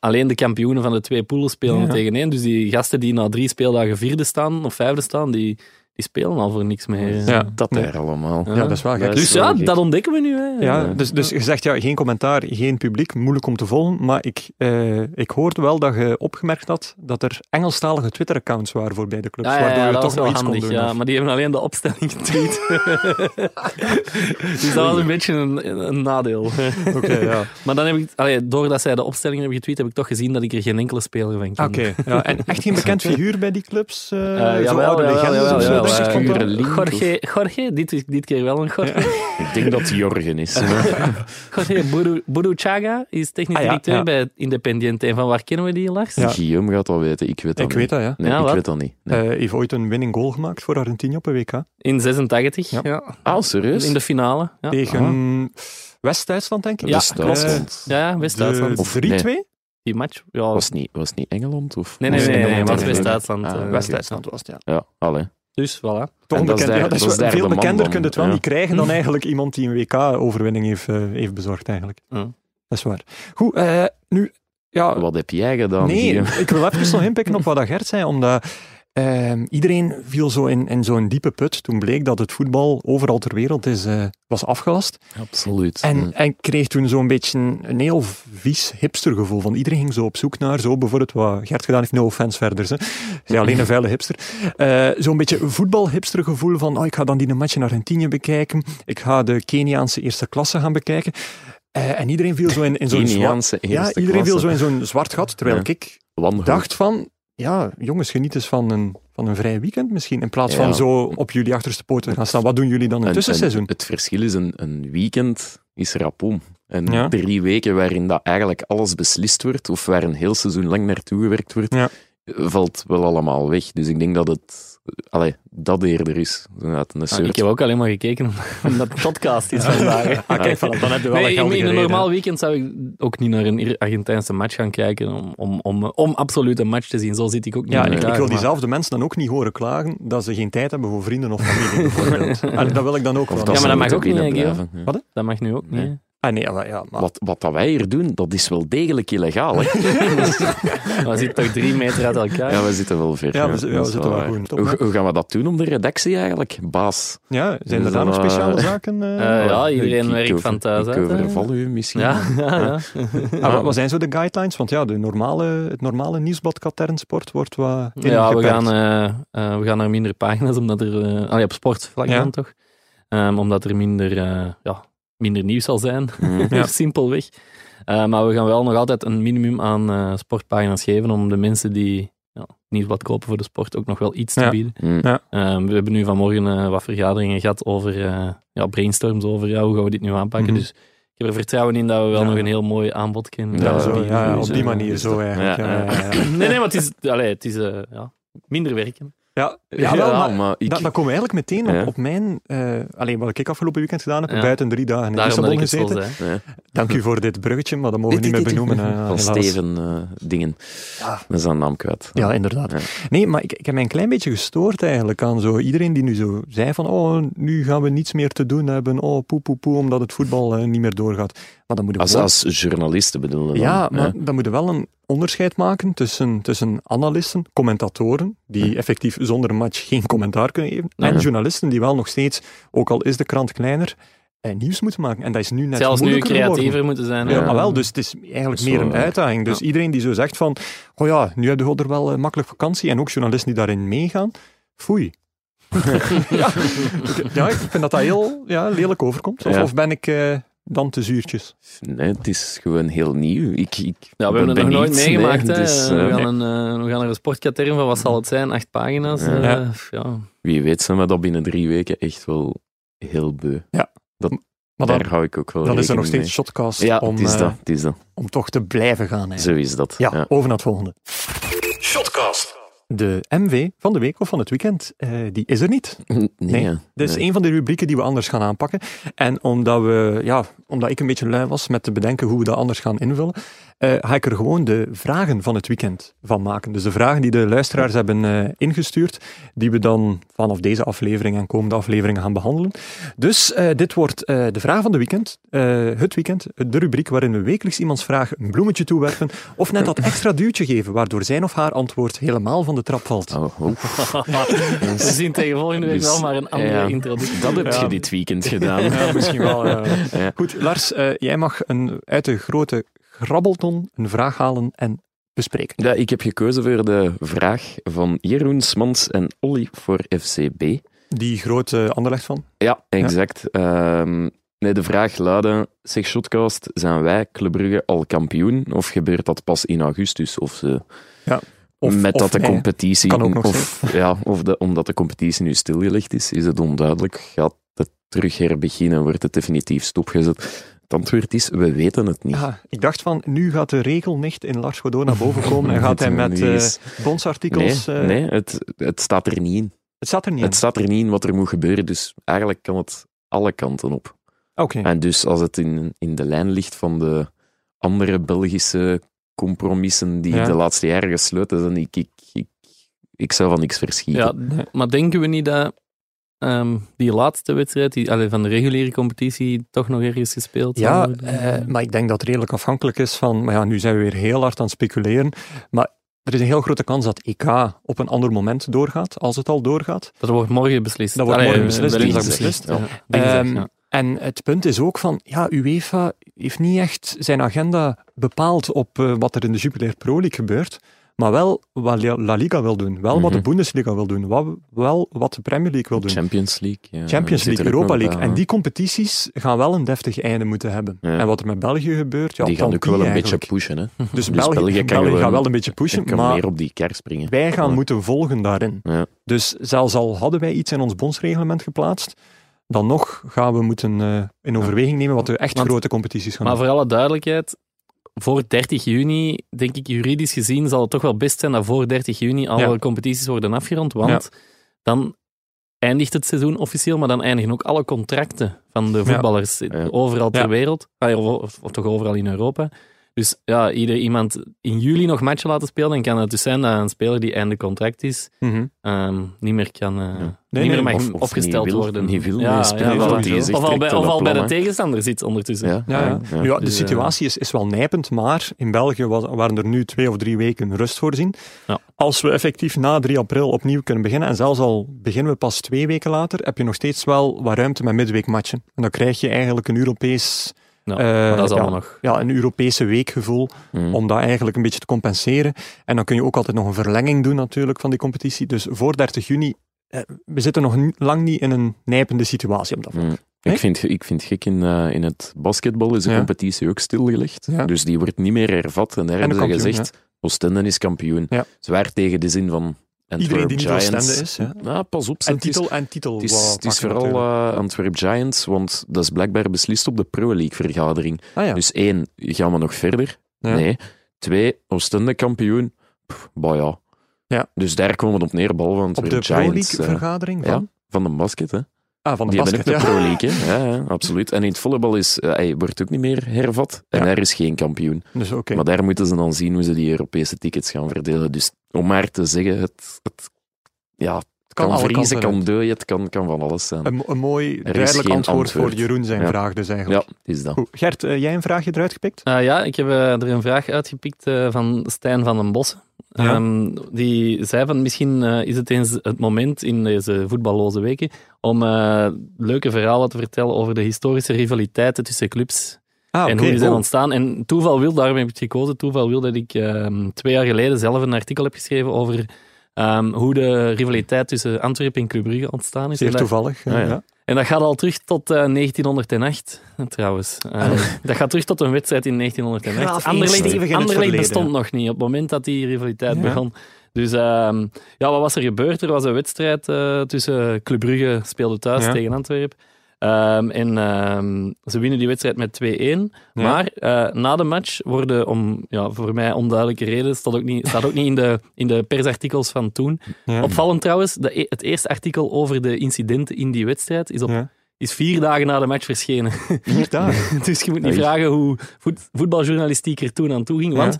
Speaker 3: alleen de kampioenen van de twee poolen spelen
Speaker 1: Ja.
Speaker 3: tegen één. Dus die gasten die na drie speeldagen vierde staan of vijfde staan, die, die spelen al voor niks meer.
Speaker 1: Ja.
Speaker 2: Dat
Speaker 1: Nee.
Speaker 2: daar allemaal.
Speaker 1: Ja, dat is wel gek.
Speaker 2: Dat is
Speaker 3: Dus ja,
Speaker 2: wel gek.
Speaker 3: dat ontdekken we nu. Hè.
Speaker 1: ja, dus, dus je zegt ja, geen commentaar, geen publiek, moeilijk om te volgen. Maar ik, eh, ik hoorde wel dat je opgemerkt had dat er Engelstalige Twitter-accounts waren voor beide clubs.
Speaker 3: Ah, Ja, ja, ja,
Speaker 1: Dus waardoor je
Speaker 3: dat
Speaker 1: toch nog
Speaker 3: was wel
Speaker 1: iets
Speaker 3: handig,
Speaker 1: kon doen.
Speaker 3: ja,
Speaker 1: of-
Speaker 3: maar die hebben alleen de opstelling
Speaker 1: *laughs*
Speaker 3: getweet. dus dat was een beetje een, een nadeel.
Speaker 1: *laughs* Oké, ja.
Speaker 3: maar dan heb ik, allee, doordat zij de opstelling hebben getweet, heb ik toch gezien dat ik er geen enkele speler van
Speaker 1: Oké,
Speaker 3: kende.
Speaker 1: ja. En echt geen
Speaker 3: *laughs*
Speaker 1: bekend figuur bij die clubs? eh
Speaker 3: Eh,
Speaker 1: zo
Speaker 3: jawel,
Speaker 1: oude
Speaker 3: jawel,
Speaker 1: legendes
Speaker 3: jawel,
Speaker 1: of zo,
Speaker 3: jawel,
Speaker 1: denk ik,
Speaker 3: eh,
Speaker 1: komt dat?
Speaker 2: Pure link, of-
Speaker 3: Jorge, Jorge dit, is- dit keer wel een Jorge.
Speaker 2: Ik denk dat Jorgen is.
Speaker 3: *laughs*
Speaker 1: *laughs*
Speaker 3: Jorge Buru- Buruchaga is technisch
Speaker 1: Ah, ja,
Speaker 3: directeur
Speaker 1: ja.
Speaker 3: bij Independiente. En van waar kennen we die, Lars?
Speaker 1: Ja.
Speaker 2: Guillaume gaat dat weten. Ik weet dat
Speaker 1: Ik
Speaker 2: niet.
Speaker 1: weet dat, ja.
Speaker 2: Nee,
Speaker 3: Ja,
Speaker 2: ik
Speaker 3: wat?
Speaker 2: weet dat niet. Nee.
Speaker 1: Eh heeft ooit een winning goal gemaakt voor Argentinië op een WK.
Speaker 3: In 86, ja.
Speaker 1: Ja.
Speaker 2: Ah, serieus?
Speaker 3: in de finale. Ja,
Speaker 1: Tegen West-Duitsland, denk ik.
Speaker 3: Ah.
Speaker 1: Eh,
Speaker 3: Ja,
Speaker 2: Ja, Duitsland.
Speaker 3: ja, ja, West-Duitsland.
Speaker 1: De
Speaker 2: Of
Speaker 1: 3-2?
Speaker 3: Die match. Ja.
Speaker 2: Was het niet, was het niet Engeland? Of
Speaker 3: Nee, nee,
Speaker 2: moest
Speaker 3: nee, nee,
Speaker 2: Engeland
Speaker 3: het
Speaker 2: dan
Speaker 3: was
Speaker 2: winnen?
Speaker 3: West-Duitsland.
Speaker 2: Ah,
Speaker 3: eh.
Speaker 2: oké.
Speaker 1: West-Duitsland was het, ja.
Speaker 2: Ja, allee.
Speaker 3: Dus voilà.
Speaker 1: Toch
Speaker 2: En dat is
Speaker 1: onbekend.
Speaker 2: daar-
Speaker 1: Ja, dat is
Speaker 2: dat
Speaker 1: wel-
Speaker 2: is daar
Speaker 1: veel
Speaker 2: de man
Speaker 1: bekender
Speaker 2: dan,
Speaker 1: kunt het wel
Speaker 2: ja.
Speaker 1: niet krijgen
Speaker 2: *laughs*
Speaker 1: dan eigenlijk iemand die een WK-overwinning heeft, eh, heeft bezorgd eigenlijk.
Speaker 3: Ja.
Speaker 1: Dat is waar. Goed, eh, nu... Ja,
Speaker 2: Wat heb jij gedaan?
Speaker 1: Ah. nee,
Speaker 2: Guillaume?
Speaker 1: ik wil even nog inpikken op wat dat Gert zei, omdat ehm, iedereen viel zo in, in zo'n diepe put. Toen bleek dat het voetbal overal ter wereld is, eh, was afgelast.
Speaker 2: Absoluut.
Speaker 1: En, en ik kreeg toen zo'n beetje een heel vies hipstergevoel. Van iedereen ging zo op zoek naar, zo bijvoorbeeld wat Gert gedaan heeft, no offense verder. Ze Zij alleen een vuile hipster. Eh, zo'n beetje voetbalhipstergevoel van, oh, ik ga dan die match in Argentinië bekijken. Ik ga de Keniaanse eerste klasse gaan bekijken. Eh, en iedereen viel zo in, in zo'n zwart...
Speaker 2: Keniaanse
Speaker 1: Ja,
Speaker 2: eerste
Speaker 1: iedereen viel
Speaker 2: klasse.
Speaker 1: zo in zo'n zwart gat. Terwijl
Speaker 2: Ja.
Speaker 1: ik
Speaker 2: Wanhoop.
Speaker 1: dacht van, ja, jongens, geniet eens van een, van een vrij weekend misschien. In plaats
Speaker 2: Ja.
Speaker 1: van zo op jullie achterste poten te gaan staan. Wat doen jullie dan in het
Speaker 2: En-
Speaker 1: tussenseizoen?
Speaker 2: en het verschil is een, een weekend is rapoom. En
Speaker 1: Ja.
Speaker 2: drie weken waarin dat eigenlijk alles beslist wordt, of waar een heel seizoen lang naartoe gewerkt wordt,
Speaker 1: Ja.
Speaker 2: valt wel allemaal weg. Dus ik denk dat het allee, dat eerder is. Inderdaad, Een
Speaker 3: Ah, ik
Speaker 2: soort,
Speaker 3: heb ook alleen maar gekeken *laughs* omdat het podcast is vandaag.
Speaker 1: Ah, kijk, voilà, dan heb je wel een
Speaker 3: Nee, in,
Speaker 1: geldige
Speaker 3: in een
Speaker 1: reden, hè.
Speaker 3: normaal weekend zou ik ook niet naar een Argentijnse match gaan kijken om, om, om, om absoluut een match te zien. Zo zit ik ook niet
Speaker 1: Ja,
Speaker 3: in
Speaker 1: en ik,
Speaker 3: elkaar,
Speaker 1: ik wil
Speaker 3: maar-
Speaker 1: diezelfde mensen dan ook niet horen klagen dat ze geen tijd hebben voor vrienden of familie, bijvoorbeeld. Allee, dat wil ik dan ook
Speaker 2: of
Speaker 1: wel.
Speaker 2: dat
Speaker 3: Ja,
Speaker 2: ze
Speaker 3: maar dat mag
Speaker 2: moeten
Speaker 3: ook niet, hè,
Speaker 2: binnenblijven. Ja.
Speaker 1: Wat?
Speaker 3: Dat mag nu ook niet.
Speaker 2: Nee.
Speaker 3: hè.
Speaker 1: Ah, nee, maar, ja, maar-
Speaker 2: Wat, wat dat wij hier doen, dat is wel degelijk illegaal. Hè?
Speaker 3: Maar We zitten toch dee meter uit elkaar.
Speaker 2: Ja, we zitten wel ver.
Speaker 1: Ja, we zi- ja, we
Speaker 2: dat is
Speaker 1: zitten wel
Speaker 2: waar.
Speaker 1: goed. Top,
Speaker 2: Hoe,
Speaker 1: hè?
Speaker 2: hoe gaan we dat doen om de redactie eigenlijk, baas?
Speaker 1: ja, zijn er
Speaker 2: Dus
Speaker 1: daar
Speaker 2: dan,
Speaker 1: nog speciale
Speaker 2: eh,
Speaker 1: zaken? eh?
Speaker 3: Eh, ja, iedereen
Speaker 2: Ik
Speaker 3: werkt
Speaker 2: over-
Speaker 3: van thuis
Speaker 2: Ik
Speaker 3: uit. hè.
Speaker 2: overval u misschien.
Speaker 3: Ja, ja, ja.
Speaker 1: Ah, wat- wat zijn zo de guidelines? Want ja, de normale, het normale nieuwsblad Katernsport wordt wat
Speaker 3: Ja, we
Speaker 1: ingeperkt.
Speaker 3: gaan, eh, eh, we gaan naar minder pagina's, omdat er... eh, allee, op sportvlak
Speaker 1: Ja.
Speaker 3: dan toch? Ehm, omdat er minder, eh, ja, minder nieuws zal zijn, *laughs*
Speaker 2: Mm.
Speaker 1: Ja.
Speaker 3: simpelweg. Eh, maar we gaan wel nog altijd een minimum aan eh, sportpagina's geven, om de mensen die ja, nieuwsblad kopen voor de sport ook nog wel iets te
Speaker 1: Ja.
Speaker 3: bieden.
Speaker 2: Mm.
Speaker 3: Ehm, we hebben nu vanmorgen eh, wat vergaderingen gehad over eh, ja, brainstorms, over ja, hoe gaan we dit nu aanpakken.
Speaker 1: Mhm.
Speaker 3: Dus ik heb er vertrouwen in dat we wel
Speaker 1: Ja.
Speaker 3: nog een heel mooi aanbod kunnen
Speaker 1: Ja,
Speaker 2: Ja,
Speaker 1: zo,
Speaker 3: bieden.
Speaker 1: ja,
Speaker 3: Dus,
Speaker 1: op die
Speaker 3: eh,
Speaker 1: manier zo eigenlijk. Ja,
Speaker 2: Ja,
Speaker 1: ja, ja, ja.
Speaker 3: *clears throat* Nee, nee, maar het is, allee, het is eh, ja, minder werken.
Speaker 1: Ja, jawel,
Speaker 2: Ja,
Speaker 1: maar
Speaker 2: maar ik-
Speaker 1: dat, dat komen we eigenlijk meteen op,
Speaker 2: Ja.
Speaker 1: op mijn... eh alleen wat ik afgelopen weekend gedaan heb,
Speaker 3: Ja.
Speaker 1: buiten drie dagen in
Speaker 3: Daarom dat
Speaker 1: Lissabon
Speaker 3: ik het zo
Speaker 1: gezeten.
Speaker 3: zei.
Speaker 2: Ja.
Speaker 1: Dank u voor dit bruggetje, maar dat mogen we niet meer benoemen. eh,
Speaker 2: *laughs* Van
Speaker 1: helaas.
Speaker 2: Steven eh, dingen.
Speaker 1: Ja.
Speaker 2: Dat is zijn naam kwijt.
Speaker 1: Ja, inderdaad.
Speaker 2: Ja.
Speaker 1: Nee, maar ik, ik heb mij een klein beetje gestoord eigenlijk aan zo iedereen die nu zo zei van oh, nu gaan we niets meer te doen hebben, oh poe poe poe, omdat het voetbal eh, niet meer doorgaat. Maar dan moeten we
Speaker 2: Als,
Speaker 1: wel,
Speaker 2: als journalisten bedoelen.
Speaker 1: ja, maar dan moeten we wel een onderscheid maken tussen, tussen analisten, commentatoren, die effectief zonder een match geen commentaar kunnen geven, en
Speaker 2: Ja.
Speaker 1: journalisten die wel nog steeds, ook al is de krant kleiner, eh, nieuws moeten maken. En dat is nu net
Speaker 3: Zelfs nu
Speaker 1: moeilijker geworden.
Speaker 3: creatiever moeten zijn.
Speaker 1: Ja,
Speaker 2: Ja.
Speaker 1: maar wel, dus het is eigenlijk
Speaker 2: Dat is
Speaker 1: meer een
Speaker 2: wel waar.
Speaker 1: uitdaging. Dus iedereen die zo zegt van, oh ja, nu heb je er wel eh, makkelijk vakantie, en ook journalisten die daarin meegaan, foei.
Speaker 2: *laughs*
Speaker 1: ja, ik- ja, ik vind dat dat heel ja, lelijk overkomt. Of,
Speaker 2: Ja.
Speaker 1: of ben ik eh, dan te zuurtjes?
Speaker 2: Nee, het is gewoon heel nieuw. Ik, ik
Speaker 3: Ja, we
Speaker 2: ben
Speaker 3: hebben het nog nooit
Speaker 2: benieuwd,
Speaker 3: meegemaakt.
Speaker 2: nee,
Speaker 3: hè.
Speaker 2: dus,
Speaker 3: we,
Speaker 2: eh,
Speaker 3: gaan een, eh, we gaan er een sportkatern van, wat zal het zijn? Acht pagina's?
Speaker 2: Ja.
Speaker 3: eh,
Speaker 1: Ja.
Speaker 3: pff,
Speaker 2: *laughs*
Speaker 3: ja.
Speaker 2: Wie weet zijn we dat binnen drie weken echt wel heel beu.
Speaker 1: Maar
Speaker 2: Daar
Speaker 1: dan,
Speaker 2: hou ik ook wel
Speaker 1: dan is er nog
Speaker 2: rekening
Speaker 1: steeds shotcast
Speaker 2: mee. Ja,
Speaker 1: om,
Speaker 2: het is
Speaker 1: eh,
Speaker 2: dat. Het is dat.
Speaker 1: om toch te blijven gaan. eigenlijk.
Speaker 2: Zo is dat.
Speaker 1: Ja,
Speaker 2: Ja.
Speaker 1: over naar het volgende. Shotcast. De MV van de week of van het weekend, eh, die is er niet.
Speaker 2: Nee,
Speaker 1: *laughs* Nee.
Speaker 2: ja.
Speaker 1: Dit is
Speaker 2: Nee.
Speaker 1: Dus een van de rubrieken die we anders gaan aanpakken. En omdat, we, ja, omdat ik een beetje lui was met te bedenken hoe we dat anders gaan invullen, eh, ga ik er gewoon de vragen van het weekend van maken. Dus de vragen die de luisteraars hebben eh, ingestuurd, die we dan vanaf deze aflevering en komende afleveringen gaan behandelen. Dus eh, dit wordt eh, de vraag van de weekend, eh, het weekend, de rubriek waarin we wekelijks iemands vraag een bloemetje toewerpen of net dat extra duwtje geven, waardoor zijn of haar antwoord helemaal van de trap valt. *laughs*
Speaker 2: Oh, oef.
Speaker 3: We zien tegen volgende week
Speaker 2: Dus,
Speaker 3: wel maar een andere
Speaker 2: ja.
Speaker 3: introductie.
Speaker 2: Dat heb
Speaker 1: Ja.
Speaker 2: je dit
Speaker 1: *laughs*
Speaker 2: weekend gedaan.
Speaker 1: Ah,
Speaker 2: *laughs*
Speaker 1: Ja, misschien wel. ja.
Speaker 2: Ja.
Speaker 1: Goed, Lars, eh, jij mag een, uit de grote grabbelton een vraag halen en bespreken.
Speaker 2: Ja, ik heb gekozen voor de vraag van Jeroen Smans en Olly voor FCB.
Speaker 1: Die grote anderleg van?
Speaker 2: Ja, exact. Ehm, nee, de vraag luidde, zeg Shotcast, zijn wij Club Brugge al kampioen? Of gebeurt dat pas in augustus? Of ze,
Speaker 1: Of-
Speaker 2: met
Speaker 1: of
Speaker 2: dat de
Speaker 1: nee.
Speaker 2: competitie...
Speaker 1: Kan ook nog
Speaker 2: of, ja, of de, omdat de competitie nu stilgelegd is, is het onduidelijk. Gaat het terug herbeginnen? Wordt het definitief stopgezet? Het antwoord is, we weten het niet.
Speaker 1: Ah, ik dacht van, nu gaat de regelnicht in Lars Godot naar boven
Speaker 2: *laughs*
Speaker 1: komen en gaat hij met
Speaker 2: Nee,
Speaker 1: eh bondsartikels...
Speaker 2: nee,
Speaker 1: eh,
Speaker 2: nee het, het staat er niet in.
Speaker 1: Het staat er niet
Speaker 2: Het staat er niet in wat er moet gebeuren, dus eigenlijk kan het alle kanten op.
Speaker 1: in. Oké.
Speaker 2: En dus als het in, in de lijn ligt van de andere Belgische compromissen die
Speaker 1: Ja.
Speaker 2: de laatste jaren gesloten zijn, ik, ik, ik ik zou van niks verschieten.
Speaker 3: Ja, maar denken we niet dat ehm, die laatste wedstrijd die, allee, van de reguliere competitie toch nog ergens gespeeld
Speaker 1: Ja,
Speaker 3: zal worden?
Speaker 1: eh, maar ik denk dat het redelijk afhankelijk is van. Maar ja, nu zijn we weer heel hard aan het speculeren. Maar er is een heel grote kans dat EK op een ander moment doorgaat, als het al doorgaat.
Speaker 3: dat wordt morgen beslist.
Speaker 1: Dat wordt
Speaker 3: Allee,
Speaker 1: morgen beslist,
Speaker 3: eh,
Speaker 1: dinsdag
Speaker 3: dinsdag.
Speaker 1: beslist.
Speaker 2: Ja.
Speaker 3: Dinsdag,
Speaker 1: Ehm,
Speaker 3: ja.
Speaker 1: En het punt is ook van, ja, UEFA heeft niet echt zijn agenda bepaald op eh, wat er in de Jupiler Pro League gebeurt, maar wel wat La La Liga wil doen, wel wat de
Speaker 2: Mhm.
Speaker 1: Bundesliga wil doen, wat, wel wat de Premier League wil doen.
Speaker 2: Champions League. ja.
Speaker 1: Champions
Speaker 2: Zit er
Speaker 1: League,
Speaker 2: ook
Speaker 1: Europa
Speaker 2: nog
Speaker 1: League.
Speaker 2: bij,
Speaker 1: En
Speaker 2: hè.
Speaker 1: die competities gaan wel een deftig einde moeten hebben.
Speaker 2: Ja.
Speaker 1: En wat er met België gebeurt, ja,
Speaker 2: die gaan
Speaker 1: tant
Speaker 2: ook wel
Speaker 1: pis
Speaker 2: een beetje
Speaker 1: eigenlijk.
Speaker 2: pushen. Hè.
Speaker 1: Dus,
Speaker 2: *laughs* dus
Speaker 1: België,
Speaker 2: België
Speaker 1: België,
Speaker 2: kan wel-
Speaker 1: gaat wel een beetje
Speaker 2: Ik
Speaker 1: pushen,
Speaker 2: *laughs* kan
Speaker 1: maar
Speaker 2: meer op die kar springen.
Speaker 1: wij gaan
Speaker 2: Ja.
Speaker 1: moeten volgen daarin.
Speaker 2: Ja.
Speaker 1: Dus zelfs al hadden wij iets in ons bondsreglement geplaatst, dan nog gaan we moeten eh, in overweging nemen wat de echt
Speaker 3: Want-
Speaker 1: grote competities gaan
Speaker 3: Maar
Speaker 1: doen.
Speaker 3: voor alle duidelijkheid, voor 30 juni, denk ik juridisch gezien, zal het toch wel best zijn dat voor 30 juni alle
Speaker 1: Ja.
Speaker 3: competities worden afgerond. Want dan eindigt het seizoen officieel, maar dan eindigen ook alle contracten van de voetballers
Speaker 2: Ja.
Speaker 3: overal ter
Speaker 1: Ja.
Speaker 3: wereld. Ah, Of, of- of toch overal in Europa. Dus ja, ieder iemand in juli nog matchen laten spelen, dan kan het dus zijn dat een speler die einde contract is,
Speaker 1: Mhm.
Speaker 3: ehm, niet meer kan... eh,
Speaker 1: Nee,
Speaker 3: niet
Speaker 1: nee,
Speaker 3: meer mag
Speaker 2: of- of
Speaker 3: opgesteld
Speaker 2: niet wil-
Speaker 3: worden.
Speaker 2: niet wil
Speaker 3: ja,
Speaker 2: meespelen,
Speaker 3: ja,
Speaker 1: want
Speaker 3: voilà.
Speaker 1: die is
Speaker 2: echt
Speaker 3: Of al
Speaker 2: strikt
Speaker 3: bij,
Speaker 2: op
Speaker 3: of
Speaker 2: dat
Speaker 3: al bij de
Speaker 2: plan, hè.
Speaker 3: tegenstander zit ondertussen.
Speaker 2: Ja,
Speaker 1: Ja, ja. Nu, ja, de
Speaker 3: Dus, eh,
Speaker 1: situatie is, is wel nijpend, maar in België was, waren er nu twee of drie weken rust voorzien.
Speaker 3: Ja.
Speaker 1: Als we effectief na 3 april opnieuw kunnen beginnen, en zelfs al beginnen we pas twee weken later, heb je nog steeds wel wat ruimte met midweekmatchen. En dan krijg je eigenlijk een Europees...
Speaker 3: Ja,
Speaker 1: eh,
Speaker 3: Maar dat is allemaal
Speaker 1: ja,
Speaker 3: nog...
Speaker 1: ja, een Europese weekgevoel.
Speaker 2: Mm.
Speaker 1: om dat eigenlijk een beetje te compenseren. En dan kun je ook altijd nog een verlenging doen natuurlijk van die competitie. Dus voor 30 juni, eh, we zitten nog ni- lang niet in een nijpende situatie op dat vlak.
Speaker 2: Mm.
Speaker 1: Nee?
Speaker 2: Ik, vind, ik vind gek, in, eh, in het basketbal is de
Speaker 1: Ja.
Speaker 2: competitie ook stilgelegd.
Speaker 1: Ja.
Speaker 2: Dus die wordt niet meer hervat. En daar hebben ze
Speaker 1: kampioen,
Speaker 2: gezegd, Oostende is kampioen.
Speaker 1: Ja.
Speaker 2: Zwaar tegen de zin van Antwerp
Speaker 1: Iedereen die niet
Speaker 2: Giants.
Speaker 1: Oostende is, ja.
Speaker 2: Nou, pas op.
Speaker 1: En
Speaker 2: het is-
Speaker 1: titel, en titel.
Speaker 2: Het
Speaker 1: wou
Speaker 2: is, het is
Speaker 1: pakken
Speaker 2: vooral
Speaker 1: natuurlijk.
Speaker 2: eh, Antwerp Giants, want dat is blijkbaar beslist op de Pro League-vergadering.
Speaker 1: Ah ja.
Speaker 2: Dus één, gaan we nog verder?
Speaker 1: Ja.
Speaker 2: Nee. Twee, Oostende kampioen? Pff, bah ja.
Speaker 1: Ja.
Speaker 2: Dus daar komen we op neer, behalve
Speaker 1: op de
Speaker 2: Antwerp
Speaker 1: Pro
Speaker 2: Giants. eh,
Speaker 1: League-vergadering van,
Speaker 2: ja, van de basket, hè.
Speaker 1: ah, van de
Speaker 2: Die hebben
Speaker 1: basket.
Speaker 2: ook de
Speaker 1: Ja.
Speaker 2: Pro League,
Speaker 1: *laughs*
Speaker 2: hè. Ja, ja, absoluut. En in het volleybal is, eh, hij wordt ook niet meer hervat. En
Speaker 1: Ja.
Speaker 2: daar is geen kampioen.
Speaker 1: Dus oké.
Speaker 2: Maar daar moeten ze dan zien hoe ze die Europese tickets gaan verdelen. Dus om maar te zeggen, het, het ja, het
Speaker 1: Het
Speaker 2: kan,
Speaker 1: alle
Speaker 2: vriezen,
Speaker 1: kanten
Speaker 2: kan
Speaker 1: uit.
Speaker 2: dooien, het kan, kan van alles zijn.
Speaker 1: Een, een mooi,
Speaker 2: is
Speaker 1: duidelijk
Speaker 2: geen
Speaker 1: antwoord, voor
Speaker 2: antwoord.
Speaker 1: Jeroen zijn
Speaker 2: Ja.
Speaker 1: vraag dus
Speaker 2: ja,
Speaker 1: eigenlijk.
Speaker 2: het is dat.
Speaker 1: Goed. Gert, eh, jij een vraagje eruit gepikt?
Speaker 3: Eh, ja, ik heb eh, er een vraag uitgepikt eh, van Stijn van den Bossen.
Speaker 1: Ja.
Speaker 3: Ehm, die zei van misschien eh, is het eens het moment in deze voetballoze weken om eh, leuke verhalen te vertellen over de historische rivaliteiten tussen clubs
Speaker 1: Ah,
Speaker 3: en
Speaker 1: oké.
Speaker 3: hoe die zijn
Speaker 1: Oh.
Speaker 3: ontstaan. En toeval wil, daarom heb ik het gekozen, toeval wil dat ik ehm, twee jaar geleden zelf een artikel heb geschreven over ehm, hoe de rivaliteit tussen Antwerpen en Club Brugge ontstaan is.
Speaker 1: Zeer
Speaker 3: En dat-
Speaker 1: toevallig. eh,
Speaker 2: Ah, ja.
Speaker 1: ja.
Speaker 3: en dat gaat al terug tot eh, 1908, trouwens.
Speaker 1: Ah,
Speaker 3: Eh, *laughs* dat gaat terug tot een wedstrijd in 1908.
Speaker 1: Graaf instevig in het
Speaker 3: Anderlecht
Speaker 1: verleden.
Speaker 3: bestond nog niet op het moment dat die rivaliteit
Speaker 1: Ja.
Speaker 3: begon. Dus ehm, ja, wat was er gebeurd? Er was een wedstrijd eh, tussen Club Brugge speelde thuis
Speaker 1: Ja.
Speaker 3: tegen Antwerpen. Ehm, en ehm, ze winnen die wedstrijd met 2-1.
Speaker 1: Ja.
Speaker 3: Maar eh, na de match worden, om ja, voor mij onduidelijke reden, staat ook niet, staat ook niet in, de, in de persartikels van toen.
Speaker 1: Ja.
Speaker 3: Opvallend trouwens, de e- het eerste artikel over de incidenten in die wedstrijd is, op,
Speaker 1: Ja.
Speaker 3: is vier dagen na de match verschenen. *laughs*
Speaker 1: Vier dagen.
Speaker 3: dus je moet niet
Speaker 2: Oei.
Speaker 3: vragen hoe voet- voetbaljournalistiek er toen aan toe ging. Want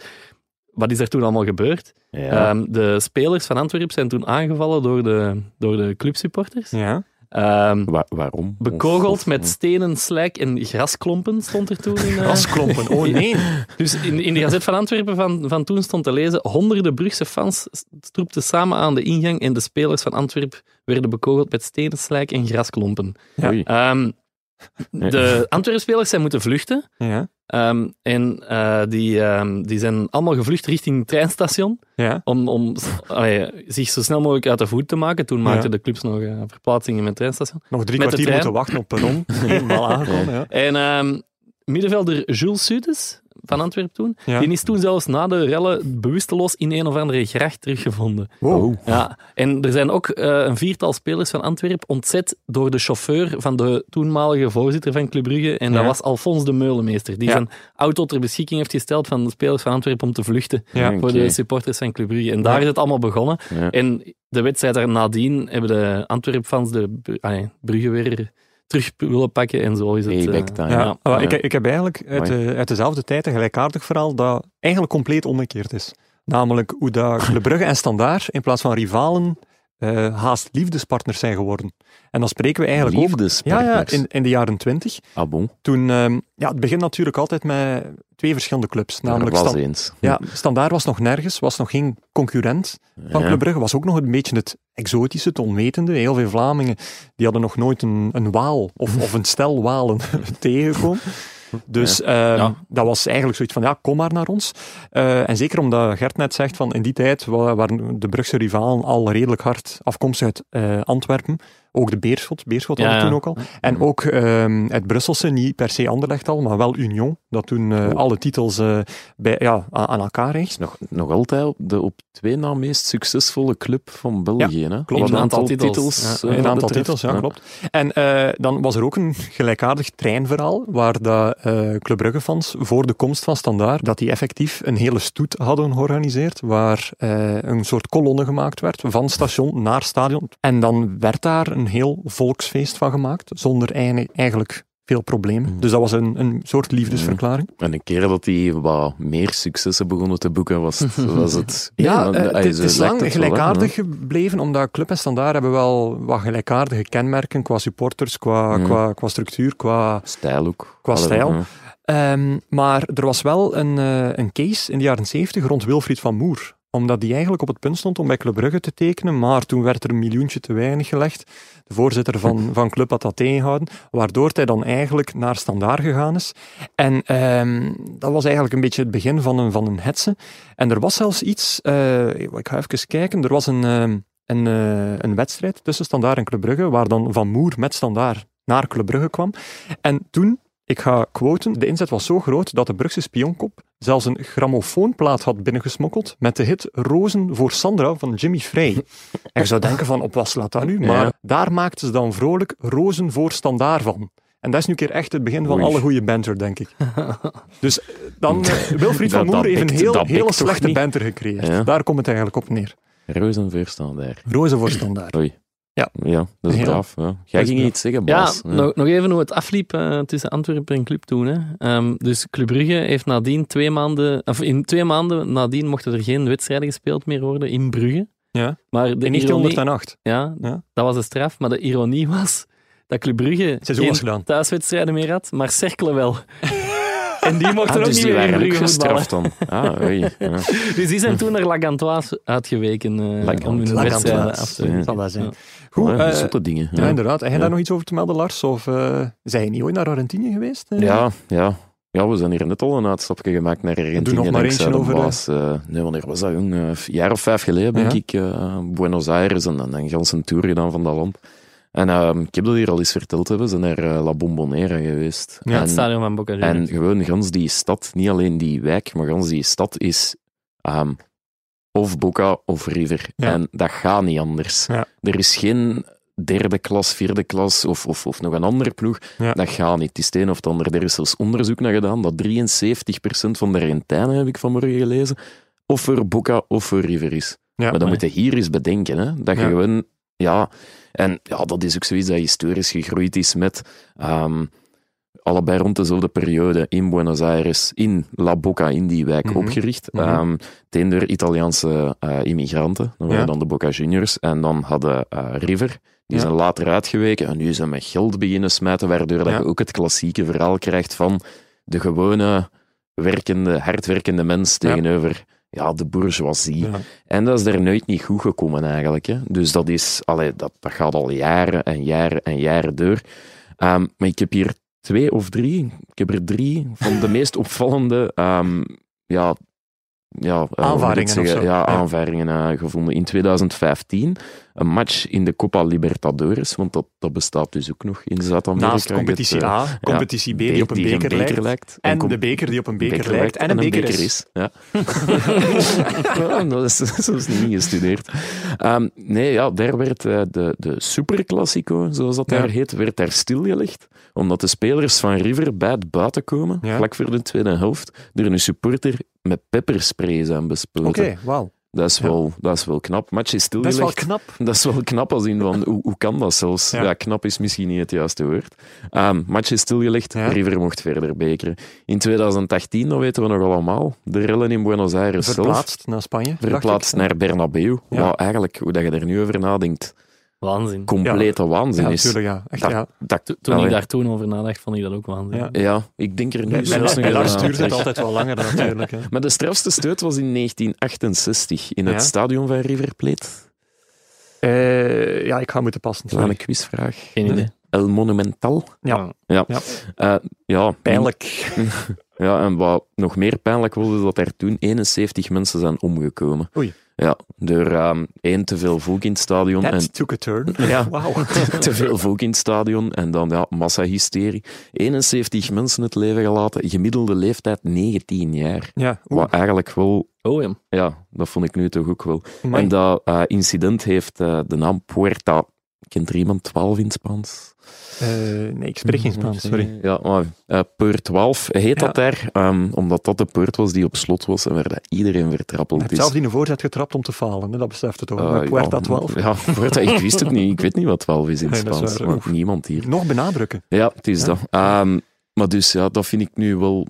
Speaker 3: wat is er toen allemaal gebeurd?
Speaker 2: Ja.
Speaker 3: Ehm, de spelers van Antwerpen zijn toen aangevallen door de, door de clubsupporters.
Speaker 1: Ja.
Speaker 3: Ehm,
Speaker 2: Wa- waarom? Of-
Speaker 3: bekogeld
Speaker 2: of-
Speaker 3: met stenen, slijk en grasklompen stond er toen. In, eh,
Speaker 1: Asklompen. Oh nee.
Speaker 3: dus in, in de Gazet van Antwerpen van, van toen stond te lezen: honderden Brugse fans stroepten samen aan de ingang en de spelers van Antwerpen werden bekogeld met stenen, slijk en grasklompen.
Speaker 1: Ja.
Speaker 2: Oei.
Speaker 3: Ehm, de Antwerpen-spelers zijn moeten vluchten.
Speaker 1: Ja.
Speaker 3: Ehm, en eh, die, ehm, die zijn allemaal gevlucht richting het treinstation
Speaker 1: Ja.
Speaker 3: om, om *laughs* s- allee, zich zo snel mogelijk uit de voet te maken. Toen maakten de clubs nog eh, verplaatsingen met het treinstation.
Speaker 1: Nog drie
Speaker 3: Met de
Speaker 1: kwartier
Speaker 3: trein.
Speaker 1: moeten wachten op perron. Helemaal aangekomen, ja.
Speaker 3: En ehm, middenvelder Jules Sudes van Antwerpen toen,
Speaker 1: Ja.
Speaker 3: die is toen zelfs na de rellen bewusteloos in een of andere gracht teruggevonden.
Speaker 1: Wow.
Speaker 3: Ja, en er zijn ook eh, een viertal spelers van Antwerpen ontzet door de chauffeur van de toenmalige voorzitter van Club Brugge. En dat
Speaker 1: Ja.
Speaker 3: was Alfons de Meulemeester, die
Speaker 1: Ja.
Speaker 3: zijn auto ter beschikking heeft gesteld van de spelers van Antwerpen om te vluchten
Speaker 1: Ja.
Speaker 3: voor
Speaker 2: Oké.
Speaker 3: de supporters van Club Brugge. En daar is het allemaal begonnen.
Speaker 2: Ja.
Speaker 3: En de wedstrijd daar nadien hebben de Antwerp-fans de Bru- ah, ja, Brugge weer terug willen pakken. En zo is het. eh,
Speaker 2: Payback time.
Speaker 1: Ja, maar
Speaker 2: Ja.
Speaker 1: Ik, ik heb eigenlijk uit, de- uit dezelfde tijd een gelijkaardig verhaal dat eigenlijk compleet omgekeerd is. Namelijk hoe dat Le Brugge en Standaard in plaats van rivalen eh, haast liefdespartners zijn geworden. En dan spreken we eigenlijk over... Ja,
Speaker 2: Liefdespartners.
Speaker 1: ja in, in de jaren twintig.
Speaker 2: Ah bon,
Speaker 1: Toen, ehm, ja, het begint natuurlijk altijd met twee verschillende clubs.
Speaker 2: daar
Speaker 1: Namelijk
Speaker 2: was
Speaker 1: Stan-
Speaker 2: eens.
Speaker 1: ja, Standaard was nog nergens, was nog geen concurrent van
Speaker 2: Ja.
Speaker 1: Club Brugge. Was ook nog een beetje het exotische, het onwetende. Heel veel Vlamingen die hadden nog nooit een, een waal of, of een stel walen *laughs* tegengekomen. Dus ehm,
Speaker 3: Ja.
Speaker 1: dat was eigenlijk zoiets van, ja, kom maar naar ons. Eh, en zeker omdat Gert net zegt, van in die tijd wa- waren de Brugse rivalen al redelijk hard afkomstig uit eh, Antwerpen. Ook de Beerschot, Beerschot
Speaker 3: Ja,
Speaker 1: hadden
Speaker 3: ja.
Speaker 1: toen ook al. En ook ehm uit Brusselse, niet per se Anderlecht al, maar wel Union. Dat toen eh,
Speaker 2: Oh.
Speaker 1: alle titels eh, bij, ja, aan, aan elkaar hing.
Speaker 2: Is nog, nog altijd op de op twee na meest succesvolle club van België. hè?
Speaker 1: klopt.
Speaker 2: Wat
Speaker 3: In aantal
Speaker 2: aantal
Speaker 3: titels. Ja,
Speaker 2: eh,
Speaker 1: Een aantal
Speaker 2: betreft.
Speaker 1: titels, ja, klopt. En eh, dan was er ook een gelijkaardig treinverhaal waar de eh Club Brugge-fans voor de komst van Standaard, dat die effectief een hele stoet hadden georganiseerd, waar eh, een soort kolonne gemaakt werd, van station naar stadion. En dan werd daar een heel volksfeest van gemaakt, zonder eigen- eigenlijk veel problemen.
Speaker 2: Mm.
Speaker 1: Dus dat was een, een soort liefdesverklaring.
Speaker 2: En een keer dat die wat meer successen begonnen te boeken, was het...
Speaker 1: *laughs*
Speaker 2: Was het
Speaker 1: Ja,
Speaker 2: maar,
Speaker 1: eh,
Speaker 2: eh,
Speaker 1: het, het
Speaker 2: ze
Speaker 1: is
Speaker 2: zegt
Speaker 1: lang
Speaker 2: het wel, hè.
Speaker 1: gelijkaardig gebleven, omdat Club en Standaard hebben wel wat gelijkaardige kenmerken qua supporters, qua,
Speaker 2: Mm.
Speaker 1: qua, qua structuur, qua...
Speaker 2: Stijl ook.
Speaker 1: Qua
Speaker 2: Allee,
Speaker 1: stijl.
Speaker 2: ja.
Speaker 1: Ehm, maar er was wel een, eh, een case in de jaren 70 rond Wilfried van Moer. Omdat die eigenlijk op het punt stond om bij Club Brugge te tekenen, maar toen werd er een miljoentje te weinig gelegd. De voorzitter van, van Club had dat tegengehouden, waardoor hij dan eigenlijk naar Standaard gegaan is. En ehm, dat was eigenlijk een beetje het begin van een, van een hetze. En er was zelfs iets, eh, ik ga even kijken, er was een, ehm, een, eh, een wedstrijd tussen Standaard en Club Brugge, waar dan Van Moer met Standaard naar Club Brugge kwam. En toen ik ga quoten. De inzet was zo groot dat de Brugse spionkop zelfs een grammofoonplaat had binnengesmokkeld met de hit Rozen voor Sandra van Jimmy Frey. En je zou denken van, op wat slaat dat nu? Maar
Speaker 2: Ja.
Speaker 1: daar maakten ze dan vrolijk Rozen voor Standaard van. En dat is nu een keer echt het begin van
Speaker 2: Oei.
Speaker 1: alle goede banter, denk ik. Dus eh,
Speaker 2: *laughs*
Speaker 1: dan, eh, Wilfried
Speaker 2: Dat-
Speaker 1: van Moer
Speaker 2: dat
Speaker 1: heeft een
Speaker 2: bikt-
Speaker 1: heel,
Speaker 2: dat bikt
Speaker 1: hele
Speaker 2: toch
Speaker 1: slechte
Speaker 2: niet?
Speaker 1: banter gecreëerd.
Speaker 2: Ja.
Speaker 1: Daar komt het eigenlijk op neer.
Speaker 2: Reuzenveer staan daar.
Speaker 1: Rozen voor Standaard.
Speaker 2: Oei.
Speaker 1: Ja.
Speaker 2: ja, dat is
Speaker 1: Ja.
Speaker 2: braaf. Ja.
Speaker 1: Dat
Speaker 2: Jij
Speaker 1: is
Speaker 2: ging
Speaker 1: braaf.
Speaker 2: iets zeggen,
Speaker 3: Ja, nou,
Speaker 2: Bas. Ja.
Speaker 3: Nog, nog even hoe het afliep eh, tussen Antwerpen en Club toen. Hè. Ehm, dus Club Brugge heeft nadien twee maanden, of in twee maanden nadien mochten er geen wedstrijden gespeeld meer worden in Brugge.
Speaker 1: Ja.
Speaker 3: Maar de
Speaker 1: In
Speaker 3: ironie,
Speaker 1: 1908.
Speaker 3: ja,
Speaker 1: Ja.
Speaker 3: dat was de straf. Maar de ironie was dat Club Brugge
Speaker 1: Het seizoen
Speaker 3: geen
Speaker 1: was gedaan.
Speaker 3: thuiswedstrijden meer had, maar Cerkelen wel. *laughs* en die mochten
Speaker 2: Ah,
Speaker 3: ook
Speaker 2: dus
Speaker 3: niet
Speaker 2: die
Speaker 3: meer in
Speaker 2: waren ook
Speaker 3: Brugge voetballen.
Speaker 2: gestraft dan. Ah, oei. Ja.
Speaker 3: Dus die zijn toen naar La Gantoise uitgeweken eh,
Speaker 2: La
Speaker 3: om hun
Speaker 1: La
Speaker 3: wedstrijden
Speaker 1: Gantoise.
Speaker 3: af te
Speaker 2: Ja.
Speaker 1: Zal dat zijn.
Speaker 3: Ja.
Speaker 1: Goed,
Speaker 2: Ja,
Speaker 1: eh,
Speaker 2: zotte dingen.
Speaker 1: Ja,
Speaker 2: Ja.
Speaker 1: inderdaad. Heb jij
Speaker 2: Ja.
Speaker 1: daar nog iets over te melden, Lars? Of eh zijn je niet ooit naar Argentinië geweest? eh?
Speaker 2: Ja, ja. Ja, we zijn hier net al een uitstapje gemaakt naar Argentinië.
Speaker 1: Doe nog
Speaker 2: en
Speaker 1: maar
Speaker 2: ik zei
Speaker 1: eentje
Speaker 2: de
Speaker 1: over,
Speaker 2: baas, eh, nee, wanneer was dat, jong? Eh, een jaar of vijf geleden ben
Speaker 1: Ja.
Speaker 2: ik eh Buenos Aires en dan een ganse tour gedaan van dat land. En ehm, ik heb dat hier al eens verteld, hè. we zijn naar eh, La Bombonera geweest.
Speaker 1: Ja,
Speaker 3: het
Speaker 2: en,
Speaker 3: stadion van Boca Juniors.
Speaker 2: en gewoon gans die stad, niet alleen die wijk, maar gans die stad is ehm, of Boca of River.
Speaker 1: Ja.
Speaker 2: En dat gaat niet anders.
Speaker 1: Ja.
Speaker 2: Er is geen derde klas, vierde klas of, of, of nog een andere ploeg.
Speaker 1: Ja.
Speaker 2: Dat gaat niet. Het is het een of het ander. Er is zelfs onderzoek naar gedaan dat 73% van de Argentijnen, heb ik vanmorgen gelezen, of voor Boca of voor River is.
Speaker 1: Ja,
Speaker 2: maar dan
Speaker 3: maar-
Speaker 2: moet je hier eens bedenken. Hè? Dat je
Speaker 1: Ja.
Speaker 2: gewoon... Ja, en ja, dat is ook zoiets dat historisch gegroeid is met... ehm, allebei rond dezelfde periode in Buenos Aires, in La Boca, in die wijk,
Speaker 1: Mhm.
Speaker 2: opgericht.
Speaker 1: Mhm.
Speaker 2: Ehm, meteen door Italiaanse eh, immigranten. Dat waren
Speaker 1: Ja.
Speaker 2: dan de Boca Juniors. En dan hadden eh, River. Die
Speaker 1: Ja.
Speaker 2: zijn later uitgeweken en nu zijn met geld beginnen smijten, waardoor dat
Speaker 1: Ja.
Speaker 2: je ook het klassieke verhaal krijgt van de gewone, werkende, hardwerkende mens
Speaker 1: Ja.
Speaker 2: tegenover ja, de bourgeoisie.
Speaker 1: Ja.
Speaker 2: En dat is er nooit niet goed gekomen eigenlijk. Hè. Dus dat, is, allee, dat, dat gaat al jaren en jaren en jaren door. Ehm, maar ik heb hier twee of drie, ik heb er drie van de
Speaker 1: *laughs*
Speaker 2: meest opvallende ehm, ja, ja, eh, hoe moet ik
Speaker 1: Aanvaringen
Speaker 2: zeggen?
Speaker 1: of zo.
Speaker 2: Ja,
Speaker 1: Ja.
Speaker 2: aanvaringen eh, gevonden. In 2015 een match in de Copa Libertadores, want dat, dat bestaat dus ook nog in Zuid-Amerika.
Speaker 1: Naast
Speaker 2: Je hebt,
Speaker 1: competitie
Speaker 2: eh,
Speaker 1: A, competitie B, die op een
Speaker 2: geen
Speaker 1: beker, lijkt. En
Speaker 2: com-
Speaker 1: de beker die op een beker, lijkt. En een beker, is.
Speaker 2: Ja.
Speaker 1: *laughs*
Speaker 2: Ja, dat is *laughs* soms niet gestudeerd. Ehm, nee, ja, daar werd eh, de, de superclassico, zoals dat
Speaker 1: Ja.
Speaker 2: daar heet, werd daar stilgelegd. Omdat de spelers van River bij het buiten komen,
Speaker 1: Ja.
Speaker 2: vlak voor de tweede helft, door een supporter met pepperspray zijn bespoten.
Speaker 1: Oké, wauw.
Speaker 2: Dat is,
Speaker 1: Ja.
Speaker 2: wel, dat is wel knap. Match is
Speaker 1: Dat is wel
Speaker 2: stilgelegd.
Speaker 1: knap.
Speaker 2: *laughs* Dat is wel knap als in van, hoe, hoe kan dat zelfs?
Speaker 1: Ja.
Speaker 2: Ja. knap is misschien niet het juiste woord. Ehm match is stilgelegd,
Speaker 1: Ja.
Speaker 2: River mocht verder bekeren. In 2018, dat weten we nog allemaal, de rellen in Buenos Aires zelf.
Speaker 1: Verplaatst naar Spanje. dacht ik. eh,
Speaker 2: Verplaatst naar Bernabeu.
Speaker 1: Ja.
Speaker 2: Wat eigenlijk, hoe dat je er nu over nadenkt,
Speaker 3: Waanzin.
Speaker 2: complete waanzin
Speaker 1: Ja,
Speaker 2: is.
Speaker 1: natuurlijk, ja. Echt,
Speaker 2: Dat-
Speaker 1: ja.
Speaker 2: Dat,
Speaker 3: Toen
Speaker 2: Allee,
Speaker 3: ik daar toen over nadacht, vond ik dat ook waanzin.
Speaker 1: Ja.
Speaker 2: Ja, ik denk er nu
Speaker 1: Bij-
Speaker 2: zelfs nog
Speaker 1: Bij
Speaker 2: eens
Speaker 1: Lars
Speaker 2: aan
Speaker 1: duurt het
Speaker 2: terug.
Speaker 1: altijd wel langer dan natuurlijk. hè.
Speaker 2: Maar de strafste steut was in 1968 in het
Speaker 1: Ja.
Speaker 2: stadion van River Plate.
Speaker 1: *laughs* Eh, ja, ik ga moeten passen.
Speaker 2: Kleine
Speaker 1: sorry.
Speaker 2: quizvraag.
Speaker 3: Geen idee.
Speaker 2: El Monumental.
Speaker 1: Ja.
Speaker 2: Ja.
Speaker 1: Ja.
Speaker 2: Eh, ja.
Speaker 1: Pijnlijk.
Speaker 2: Ja, en wat nog meer pijnlijk was, is dat er toen 71 mensen zijn omgekomen.
Speaker 1: Oei.
Speaker 2: Ja, door ehm, één te veel volk in het stadion. en
Speaker 1: That took a turn.
Speaker 2: Ja.
Speaker 1: Wauw.
Speaker 2: *laughs* te veel volk in het stadion en dan ja, massahysterie. 71 mensen het leven gelaten, gemiddelde leeftijd 19 jaar.
Speaker 1: Ja.
Speaker 2: Wat eigenlijk wel,
Speaker 3: Oh ja.
Speaker 2: ja, dat vond ik nu toch ook wel.
Speaker 1: Amai.
Speaker 2: En dat eh, incident heeft eh, de naam Puerta. Kent er iemand 12 in het Spaans?
Speaker 1: Eh, nee, ik spreek geen Spaans, sorry.
Speaker 2: Ja, maar eh Peur 12 heet
Speaker 1: Ja.
Speaker 2: dat daar, ehm, omdat dat de Peur was die op slot was en waar dat iedereen
Speaker 1: Je
Speaker 2: vertrappeld
Speaker 1: hebt
Speaker 2: is.
Speaker 1: zelf die een voorzet getrapt om te falen, hè? dat beseft het ook.
Speaker 2: Eh,
Speaker 1: maar Puerta
Speaker 2: ja,
Speaker 1: 12.
Speaker 2: *laughs* Ja, Puerta, ik wist het niet. Ik weet niet wat 12 is in
Speaker 1: *laughs* Nee,
Speaker 2: het
Speaker 1: dat is
Speaker 2: Spaans.
Speaker 1: waar.
Speaker 2: maar
Speaker 1: Oef.
Speaker 2: niemand hier.
Speaker 1: Nog benadrukken.
Speaker 2: Ja, het is
Speaker 1: Ja.
Speaker 2: dat. Ehm, maar dus ja, dat vind ik nu wel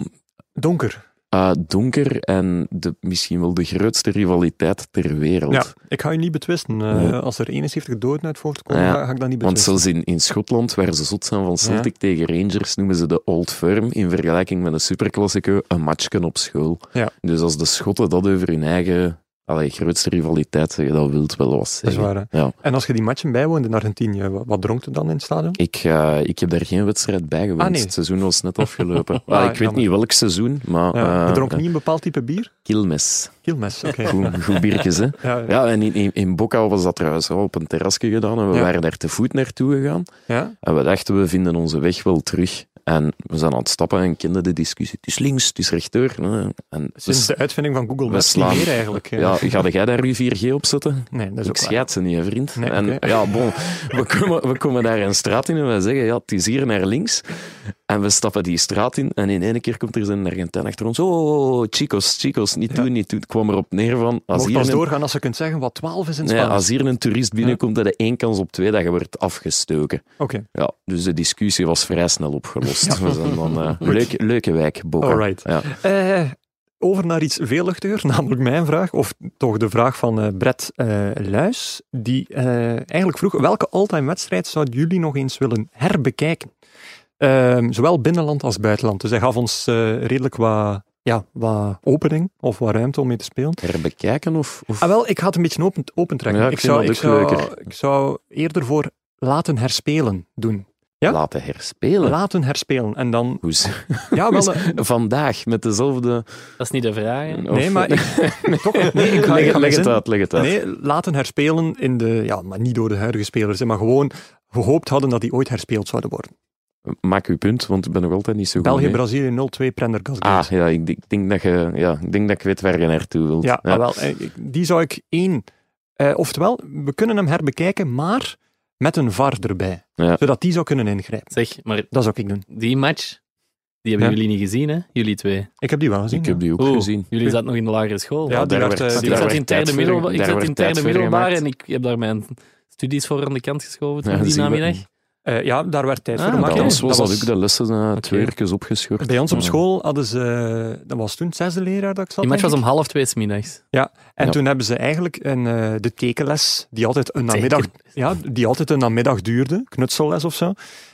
Speaker 1: Donker.
Speaker 2: eh, donker en de, misschien wel de grootste rivaliteit ter wereld.
Speaker 1: Ja, ik ga je niet betwisten. Eh,
Speaker 2: Ja.
Speaker 1: Als er 71 doden uit voortkomen,
Speaker 2: Ah, Ja.
Speaker 1: ga, ga ik dat niet
Speaker 2: Want
Speaker 1: betwisten.
Speaker 2: zelfs in, in Schotland, waar ze zot zijn van Celtic tegen Rangers, noemen ze de Old Firm in vergelijking met een superklassico een matchken op school.
Speaker 1: Ja.
Speaker 2: Dus als de Schotten dat over hun eigen allee, grootste rivaliteit zeggen, dat wilt wel wat
Speaker 1: Dat is
Speaker 2: zeggen.
Speaker 1: waar. hè.
Speaker 2: Ja.
Speaker 1: En als je die matchen bijwoonde in Argentinië, wat, wat dronk het dan in het stadion?
Speaker 2: Ik, eh, ik heb daar geen wedstrijd bij gewoond.
Speaker 1: Ah, nee.
Speaker 2: Het seizoen was net afgelopen. Ah,
Speaker 1: *laughs* Ah,
Speaker 2: ik weet
Speaker 1: jammer.
Speaker 2: niet welk seizoen, maar...
Speaker 1: Ja, je
Speaker 2: eh,
Speaker 1: dronk
Speaker 2: eh,
Speaker 1: niet een bepaald type bier?
Speaker 2: Kilmes.
Speaker 1: Kilmes, oké.
Speaker 2: Goed, goed biertjes, hè.
Speaker 1: Ja, ja.
Speaker 2: Ja, en in, in, in Boca was dat trouwens al op een terrasje gedaan. En we
Speaker 1: Ja.
Speaker 2: waren daar te voet naartoe gegaan.
Speaker 1: Ja?
Speaker 2: En we dachten, we vinden onze weg wel terug. En we zijn aan het stappen en kenden de discussie. Het is links, het is rechter. hè. En we
Speaker 1: Sinds
Speaker 2: s-
Speaker 1: de uitvinding van Google
Speaker 2: we
Speaker 1: Maps niet
Speaker 2: slaan-
Speaker 1: meer eigenlijk. hè.
Speaker 2: ja, ga jij daar uw 4G op zetten?
Speaker 1: Nee, dat is
Speaker 2: Ik
Speaker 1: ook waar.
Speaker 2: scheid ze niet, hè, vriend.
Speaker 1: Nee,
Speaker 2: en
Speaker 1: oké.
Speaker 2: ja, bon, we, komen, we komen daar een straat in en wij zeggen, ja, het is hier naar links. En we stappen die straat in en in één keer komt er zo'n Argentijn achter ons. Oh, oh, oh, chicos, chicos, niet doen, niet doen. Het kwam erop neer van... Als
Speaker 1: Mocht
Speaker 2: hier
Speaker 1: pas
Speaker 2: een,
Speaker 1: doorgaan als ze kunt zeggen wat 12 is in
Speaker 2: nee,
Speaker 1: Spaans.
Speaker 2: als hier een toerist binnenkomt, dat je één kans op twee dat je wordt afgestoken.
Speaker 1: Oké,
Speaker 2: Ja, dus de discussie was vrij snel opgelost. We zijn dan, eh, leuk, leuke wijk, Boca.
Speaker 1: Alright.
Speaker 2: Ja.
Speaker 1: Eh, over naar iets veel luchtiger, *laughs* namelijk mijn vraag, of toch de vraag van eh Brett eh, Luis, die eh, eigenlijk vroeg welke all-time wedstrijd zouden jullie nog eens willen herbekijken? Ehm, zowel binnenland als buitenland. Dus hij gaf ons eh, redelijk wat, ja, wat opening of wat ruimte om mee te spelen.
Speaker 2: Herbekijken of... of...
Speaker 1: Ah, wel, ik ga het een beetje open, open trekken.
Speaker 2: Ja, ik
Speaker 1: ik,
Speaker 2: vind
Speaker 1: zou,
Speaker 2: dat
Speaker 1: ik,
Speaker 2: ook
Speaker 1: zou,
Speaker 2: leuker.
Speaker 1: ik zou eerder voor laten herspelen doen. ja?
Speaker 2: Laten herspelen.
Speaker 1: Laten herspelen. En dan,
Speaker 2: Hoe ze-
Speaker 1: ja, wel, eh,
Speaker 2: *laughs* Vandaag, met dezelfde...
Speaker 3: Dat is niet de vraag. hè.
Speaker 2: of-
Speaker 1: nee, maar ik,
Speaker 2: *laughs*
Speaker 1: toch, nee, ik ga, ik
Speaker 2: leg
Speaker 1: ga
Speaker 2: het,
Speaker 1: mijn
Speaker 2: leg het
Speaker 1: zin-
Speaker 2: uit, leg het uit.
Speaker 1: Nee, laten herspelen in de, ja, maar niet door de huidige spelers, hè, maar gewoon gehoopt hadden dat die ooit herspeeld zouden worden.
Speaker 2: Maak uw punt, want ik ben nog altijd niet zo goed. mee.
Speaker 1: België-Brazilië 0-2, Prendergast.
Speaker 2: Ah, ja ik, ik denk dat je, ja, ik denk dat ik weet waar je naartoe wilt.
Speaker 1: ja, ah, wel, eh, ik- die zou ik één, eh, oftewel, we kunnen hem herbekijken, maar met een VAR erbij,
Speaker 2: Ja.
Speaker 1: zodat die zou kunnen ingrijpen.
Speaker 3: Zeg, maar
Speaker 1: Dat zou ik doen.
Speaker 3: die match, die hebben
Speaker 1: Ja.
Speaker 3: jullie niet gezien, hè? Jullie twee.
Speaker 1: Ik heb die wel gezien.
Speaker 2: ik heb
Speaker 1: ja.
Speaker 2: die ook
Speaker 3: Oeh,
Speaker 2: gezien.
Speaker 3: Jullie zaten nog in de lagere school.
Speaker 1: Ja,
Speaker 2: Maar
Speaker 1: Oh. die
Speaker 2: daar
Speaker 1: werd,
Speaker 2: werd-
Speaker 1: eh,
Speaker 3: Want
Speaker 1: die
Speaker 3: ik
Speaker 2: daar
Speaker 3: zat in
Speaker 2: werd
Speaker 3: derde
Speaker 2: tijd voor-
Speaker 3: middelbaar, ik
Speaker 2: daar
Speaker 3: zat
Speaker 2: werd
Speaker 3: in
Speaker 2: tijd
Speaker 3: derde
Speaker 2: voor
Speaker 3: middelbaar
Speaker 2: gemaakt.
Speaker 3: en ik heb daar mijn studies voor aan de kant geschoven
Speaker 2: Ja,
Speaker 3: toen die
Speaker 2: zie je wel.
Speaker 3: namiddag.
Speaker 1: Eh, ja, daar werd tijd
Speaker 3: Ah,
Speaker 1: voor
Speaker 2: Bij
Speaker 1: gemaakt.
Speaker 3: oké.
Speaker 2: ons was
Speaker 1: Dat
Speaker 2: dat ook de lessen eh, twee uurtjes opgeschort.
Speaker 1: Bij ons op
Speaker 2: Ja.
Speaker 1: school hadden ze, eh, dat was toen zesde leraar dat ik zat.
Speaker 3: Die match
Speaker 1: denk
Speaker 3: was
Speaker 1: ik.
Speaker 3: om half twee 's middags.
Speaker 1: En
Speaker 2: Ja.
Speaker 1: toen hebben ze eigenlijk een, eh, de tekenles, die altijd een namiddag, ja, die altijd een namiddag duurde, knutselles of zo,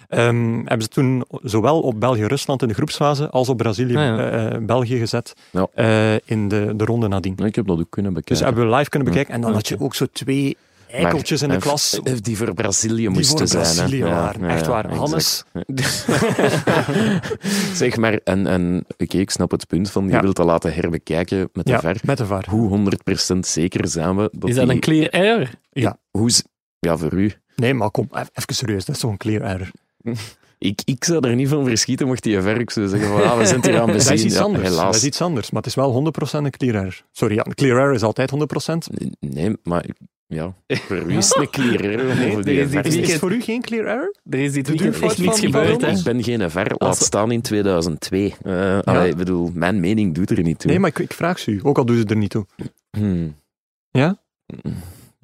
Speaker 1: ehm, hebben ze toen zowel op België-Rusland in de groepsfase als op
Speaker 3: Ah, ja.
Speaker 1: Brazilië-België gezet
Speaker 2: Ja.
Speaker 1: eh, in de, de ronde nadien.
Speaker 2: Ik heb dat ook kunnen
Speaker 1: Dus
Speaker 2: bekijken.
Speaker 1: hebben we live kunnen
Speaker 2: Ja.
Speaker 1: bekijken. En dan had je ook zo twee eikeltjes in de
Speaker 2: Maar hij
Speaker 1: klas.
Speaker 2: heeft- hij heeft Die voor Brazilië
Speaker 1: Die
Speaker 2: moesten
Speaker 1: voor
Speaker 2: zijn. hè.
Speaker 1: Brazilië
Speaker 2: Ja,
Speaker 1: waren.
Speaker 2: ja,
Speaker 1: Echt
Speaker 2: ja,
Speaker 1: waar.
Speaker 2: exact.
Speaker 1: Hannes.
Speaker 2: zeg maar, en, en oké, ik snap het punt van je
Speaker 1: Ja.
Speaker 2: wilt dat laten herbekijken met de
Speaker 1: Ja,
Speaker 2: ver.
Speaker 1: met de VAR.
Speaker 2: Hoe 100% zeker zijn we dat
Speaker 3: Is dat
Speaker 2: die-
Speaker 3: een clear error?
Speaker 2: hoe, z- Ja, voor u.
Speaker 1: Nee, maar kom, eff- even serieus, dat is zo'n clear error.
Speaker 2: Ik, ik zou er niet van verschieten mocht die ver ook zo zeggen van ah, we zijn het eraan bezien.
Speaker 1: Dat is iets
Speaker 2: Ja,
Speaker 1: anders.
Speaker 2: helaas.
Speaker 1: Dat is iets anders, maar het is wel 100% een clear error. Sorry, ja, een clear error is altijd 100%.
Speaker 2: Nee, maar ik- ja, voor
Speaker 1: *laughs*
Speaker 2: u is het een clear error om
Speaker 3: Nee,
Speaker 2: over
Speaker 3: er
Speaker 2: die
Speaker 3: is iets
Speaker 2: ver-
Speaker 1: Is,
Speaker 3: niet-
Speaker 1: is voor u geen clear error?
Speaker 3: Er is dit
Speaker 1: De
Speaker 3: weekend
Speaker 1: duurfout
Speaker 3: echt niets
Speaker 1: van
Speaker 3: gebeurd, hè?
Speaker 1: Bartels?
Speaker 2: Ik ben geen ver, laat
Speaker 3: Als-
Speaker 2: staan in 2002. Eh allee, ik bedoel, mijn mening doet er niet toe.
Speaker 1: Nee, maar ik, ik vraag ze u, ook al doen ze er niet toe.
Speaker 2: Hmm.
Speaker 1: Ja?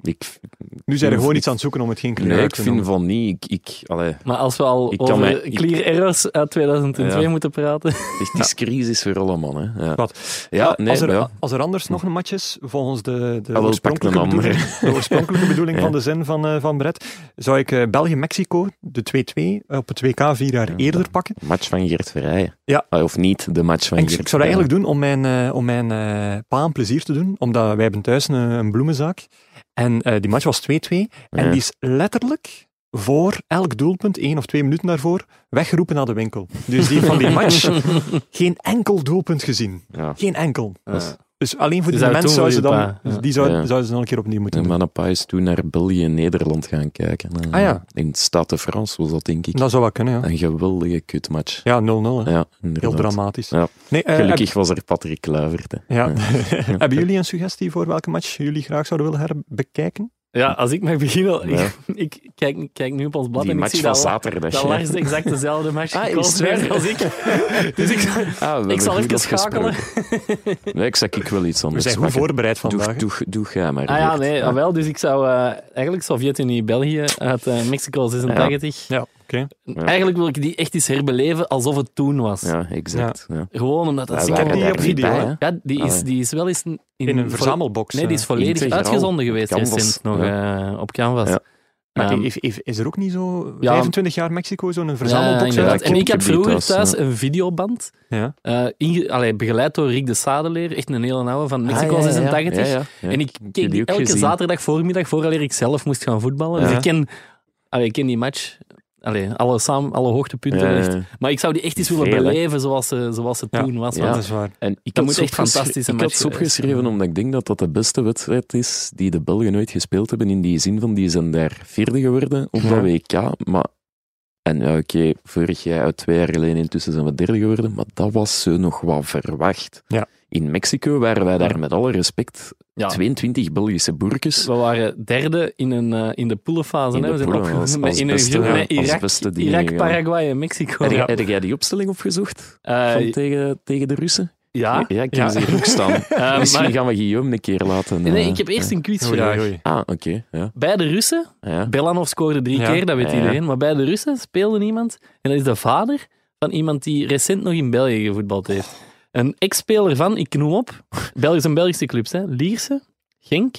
Speaker 2: Ik,
Speaker 1: Nu zijn er
Speaker 2: Ik-
Speaker 1: gewoon iets aan het zoeken om het geen kleur
Speaker 2: nee,
Speaker 1: uit
Speaker 2: ik
Speaker 1: te
Speaker 2: vind
Speaker 1: noemen.
Speaker 2: van niet. Ik, ik, allee,
Speaker 3: Maar als we al
Speaker 2: Ik kan
Speaker 3: over
Speaker 2: mij- ik-
Speaker 3: Clear Errors uit 2002
Speaker 2: Ja.
Speaker 3: moeten praten. *laughs*
Speaker 2: het is crisis voor alle mannen. Hè. Ja.
Speaker 1: Wat?
Speaker 2: Ja, nee,
Speaker 1: Ah, als, er,
Speaker 2: ja.
Speaker 1: als er anders nog een match is, volgens de, de,
Speaker 2: pak een
Speaker 1: oorspronkelijke,
Speaker 2: ander.
Speaker 1: bedoeling, de oorspronkelijke bedoeling
Speaker 2: *laughs* Ja.
Speaker 1: van de zin van, eh, van Brett, zou ik eh, België-Mexico, de 2-2, op het WK vier jaar
Speaker 2: Ja.
Speaker 1: eerder pakken.
Speaker 2: Match van Geert Verrijen.
Speaker 1: Ja.
Speaker 2: Allee, Of niet de match van
Speaker 1: Ik,
Speaker 2: Geert
Speaker 1: ik zou dat
Speaker 2: Verrijen.
Speaker 1: eigenlijk doen om mijn, eh, om mijn eh, pa een plezier te doen, omdat wij hebben thuis een, een bloemenzaak. En eh, die match was 2-2. En
Speaker 2: Ja.
Speaker 1: die is letterlijk voor elk doelpunt, één of twee minuten daarvoor, weggeroepen naar de winkel. Dus die heeft van die match geen enkel doelpunt gezien.
Speaker 2: Ja.
Speaker 1: Geen enkel.
Speaker 2: Dat is-
Speaker 1: Dus alleen voor
Speaker 3: Dus
Speaker 1: die
Speaker 3: daar
Speaker 1: mensen
Speaker 3: toen
Speaker 1: zouden ze
Speaker 3: voor je
Speaker 1: dan,
Speaker 3: pa, ja.
Speaker 1: die zou,
Speaker 2: Ja.
Speaker 1: zouden ze dan een keer opnieuw moeten
Speaker 2: En
Speaker 1: doen.
Speaker 2: mijn pa is toen naar België en Nederland gaan kijken. Eh,
Speaker 1: Ah, ja.
Speaker 2: In de Stade de France was dat, denk ik.
Speaker 1: Dat zou wel kunnen, ja.
Speaker 2: Een geweldige kutmatch.
Speaker 1: Ja, 0-0. hè.
Speaker 2: Ja,
Speaker 1: Heel
Speaker 2: inderdaad.
Speaker 1: dramatisch.
Speaker 2: Ja.
Speaker 1: Nee, eh,
Speaker 2: Gelukkig was er Patrick Kluivert. hè.
Speaker 1: heb- ja.
Speaker 2: Ja.
Speaker 1: hebben jullie een suggestie voor welke match jullie graag zouden willen herbekijken?
Speaker 3: Ja, als ik mag beginnen.
Speaker 2: Ja.
Speaker 3: *laughs* Ik, ik kijk, kijk nu op ons blad
Speaker 2: Die
Speaker 3: en ik
Speaker 2: match
Speaker 3: zie
Speaker 2: van
Speaker 3: dat, La-
Speaker 2: zaterdag.
Speaker 3: dat
Speaker 2: ja.
Speaker 3: Lars exact dezelfde match
Speaker 2: *laughs* Ah, is
Speaker 3: gekozen
Speaker 2: het
Speaker 3: heeft
Speaker 2: waar?
Speaker 3: als
Speaker 2: *laughs*
Speaker 3: ik. Dus ik,
Speaker 2: Ah, we hebben
Speaker 3: ik zal
Speaker 2: goed
Speaker 3: even schakelen.
Speaker 2: afgesproken. *laughs* Nee, ik zeg ik wil iets
Speaker 1: We
Speaker 2: anders
Speaker 1: zijn goed
Speaker 2: pakken.
Speaker 1: voorbereid vandaag.
Speaker 2: Doe,
Speaker 1: hè.
Speaker 2: doe, doe jij maar.
Speaker 3: Ah ja,
Speaker 2: Geert.
Speaker 3: nee, wel. Dus ik zou eh, eigenlijk Sovjet-Unie, België uit eh, Mexico 86.
Speaker 1: Ja, oké.
Speaker 3: Eigenlijk wil ik die echt eens herbeleven alsof het toen was.
Speaker 2: Ja, exact. Ja.
Speaker 3: Gewoon omdat dat
Speaker 2: Wij
Speaker 3: ik
Speaker 1: heb
Speaker 2: waren
Speaker 1: die
Speaker 2: daar
Speaker 1: op
Speaker 2: niet
Speaker 1: video,
Speaker 2: bij,
Speaker 1: hè.
Speaker 2: hè.
Speaker 3: Ja, die
Speaker 2: Ah,
Speaker 3: is,
Speaker 2: ja.
Speaker 3: die is wel eens in,
Speaker 1: In een
Speaker 3: voor-
Speaker 1: verzamelbox.
Speaker 3: Nee, die is
Speaker 1: eh.
Speaker 3: volledig
Speaker 2: Integraal.
Speaker 3: uitgezonden geweest
Speaker 2: Canvas.
Speaker 3: recent nog eh, op Canvas.
Speaker 2: Ja.
Speaker 1: Maar
Speaker 3: Ehm,
Speaker 1: heeft- heeft- is er ook niet zo
Speaker 3: Ja.
Speaker 1: 25 jaar Mexico zo'n verzamelbox?
Speaker 3: Ja,
Speaker 1: uit?
Speaker 3: inderdaad.
Speaker 2: Ja,
Speaker 3: en ik heb
Speaker 2: Kippenbeet
Speaker 3: vroeger
Speaker 2: was,
Speaker 3: thuis
Speaker 2: ja.
Speaker 3: een videoband,
Speaker 1: Ja.
Speaker 3: eh, inge- allee, begeleid door Rick de Sadeleer, echt een hele oude van Mexico 86.
Speaker 2: Ah, Ja, ja, ja.
Speaker 3: En ik keek die
Speaker 2: ook
Speaker 3: elke
Speaker 2: gezien.
Speaker 3: zaterdag voormiddag vooraleer ik zelf moest gaan voetballen. Dus
Speaker 1: Ja.
Speaker 3: ik ken, allee, ik ken die match, allee, alle, samen, alle hoogtepunten.
Speaker 2: Ja, ja,
Speaker 3: echt.
Speaker 2: ja.
Speaker 3: Maar ik zou die echt eens willen
Speaker 2: Veel, hè.
Speaker 3: beleven zoals ze, zoals ze
Speaker 1: Ja.
Speaker 3: toen was.
Speaker 2: Ja.
Speaker 3: want
Speaker 1: dat is waar.
Speaker 2: En ik
Speaker 3: Dat
Speaker 2: had
Speaker 3: moet
Speaker 2: ze
Speaker 3: echt
Speaker 2: opgeschre-
Speaker 3: fantastische
Speaker 2: Ik
Speaker 3: match
Speaker 2: had ze
Speaker 3: geweest
Speaker 2: opgeschreven
Speaker 3: zijn.
Speaker 2: omdat ik denk dat dat de beste wedstrijd is die de Belgen nooit gespeeld hebben. In die zin van, die zijn daar vierde geworden op dat
Speaker 1: Ja.
Speaker 2: WK. Maar, en ja, oké, vorig jaar, uit twee jaar geleden intussen zijn we derde geworden. Maar dat was ze nog wat verwacht.
Speaker 1: Ja.
Speaker 2: In Mexico waren wij
Speaker 1: Ja.
Speaker 2: daar met alle respect
Speaker 3: Ja.
Speaker 2: 22 Belgische boerkes.
Speaker 3: We waren derde in, een, eh, in de poelenfase.
Speaker 2: In
Speaker 3: hè.
Speaker 2: de
Speaker 3: we zijn
Speaker 2: poelen,
Speaker 3: opgekomen
Speaker 2: als-
Speaker 3: met-
Speaker 2: als
Speaker 3: in een
Speaker 2: beste,
Speaker 3: groep
Speaker 1: ja,
Speaker 3: met
Speaker 2: als
Speaker 3: Irak,
Speaker 2: beste die
Speaker 3: Irak
Speaker 2: meegaan.
Speaker 3: Paraguay en Mexico.
Speaker 2: Heb,
Speaker 3: Ja,
Speaker 2: jij- heb jij die opstelling opgezocht?
Speaker 3: Eh, Ah.
Speaker 2: van tegen, tegen de Russen?
Speaker 3: ja.
Speaker 2: Ja, ik heb
Speaker 1: Ja.
Speaker 2: ze hier ook staan.
Speaker 3: *laughs* Eh,
Speaker 2: Misschien
Speaker 3: maar-
Speaker 2: gaan we Guillaume een keer laten.
Speaker 3: nee,
Speaker 2: eh,
Speaker 3: ik heb eerst een
Speaker 1: Oei, oei,
Speaker 3: quizvraag.
Speaker 1: oei.
Speaker 2: Ah, oké. ja,
Speaker 3: Bij de Russen
Speaker 2: ja.
Speaker 3: Belanov scoorde drie
Speaker 1: Ja.
Speaker 3: keer, dat weet
Speaker 2: Ja, ja.
Speaker 3: iedereen. Maar bij de Russen speelde iemand, en dat is de vader van iemand die recent nog in België gevoetbald heeft. Een ex-speler van, ik noem op, Belgisch en Belgische clubs, hè. Lierse, Genk,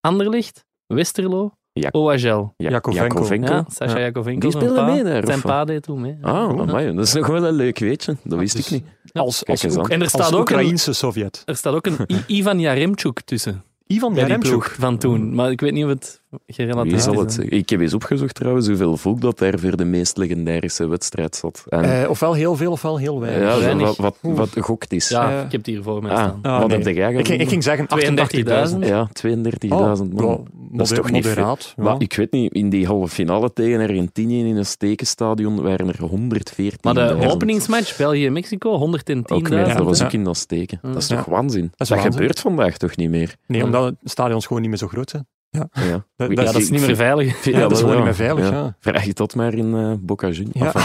Speaker 3: Anderlecht, Westerlo,
Speaker 2: Ja.
Speaker 3: OHL.
Speaker 2: Ja,
Speaker 1: Jakovenko.
Speaker 2: Jakovenko.
Speaker 3: Ja, Sasha Jakovenko.
Speaker 2: Die
Speaker 3: zijn
Speaker 2: speelde
Speaker 3: pa.
Speaker 2: mee daar, of
Speaker 3: Zijn
Speaker 2: wat?
Speaker 3: pa deed toen mee. Ja.
Speaker 2: Ah, amai, dat is nog wel een leuk weetje. Dat wist
Speaker 1: Dus-
Speaker 2: ik niet.
Speaker 1: Als,
Speaker 2: Kijk
Speaker 1: als,
Speaker 2: eens
Speaker 1: Oek-
Speaker 2: aan.
Speaker 3: En er
Speaker 1: als
Speaker 3: staat ook een,
Speaker 1: Oekraïnse Sovjet.
Speaker 3: er staat ook een
Speaker 2: *laughs*
Speaker 3: I- Ivan Yaremchuk tussen.
Speaker 1: Ivan
Speaker 3: Bij die ploeg
Speaker 1: Jaremchuk.
Speaker 3: van toen. Maar ik weet niet of het gerelateerd
Speaker 2: Wie
Speaker 3: is.
Speaker 2: zal het
Speaker 3: aan-
Speaker 2: zeggen? Ik heb eens opgezocht trouwens hoeveel volk dat daar voor de meest legendarische wedstrijd zat. En,
Speaker 1: Eh, ofwel heel veel, ofwel heel weinig.
Speaker 2: ja, zo
Speaker 3: weinig.
Speaker 2: wat, wat,
Speaker 1: Oeh.
Speaker 2: wat gokt is.
Speaker 3: Ja,
Speaker 1: Eh,
Speaker 3: ik heb het hier voor mij
Speaker 2: Ah,
Speaker 3: staan.
Speaker 1: Ah,
Speaker 2: wat
Speaker 1: nee.
Speaker 2: heb jij
Speaker 1: Ik, ging- ik ging zeggen
Speaker 3: 32.000.
Speaker 1: 32.000.
Speaker 2: Ja, 32.000 man.
Speaker 1: wow,
Speaker 2: is toch niet
Speaker 1: moderaat. ja.
Speaker 2: Maar ik weet niet, in die halve finale tegen Argentinië in een stekenstadion waren er 114.000.
Speaker 3: Maar de openingsmatch België-Mexico, 110.000.
Speaker 2: Ook meer,
Speaker 1: Ja.
Speaker 2: dat was
Speaker 1: Ja.
Speaker 2: ook in dat steken. Dat is
Speaker 1: Ja.
Speaker 2: toch waanzin? Dat,
Speaker 1: waanzin.
Speaker 2: gebeurt vandaag toch niet meer?
Speaker 1: Nee, omdat de stadions gewoon niet meer zo groot zijn.
Speaker 2: Ja,
Speaker 1: Dat,
Speaker 2: Ja,
Speaker 1: dat,
Speaker 3: Ja, dat is niet meer veilig.
Speaker 1: ja, dat is gewoon
Speaker 2: wel,
Speaker 1: niet meer veilig.
Speaker 2: ja.
Speaker 1: Ja.
Speaker 2: Vraag je dat maar in eh Boca Juniors.
Speaker 1: Ja.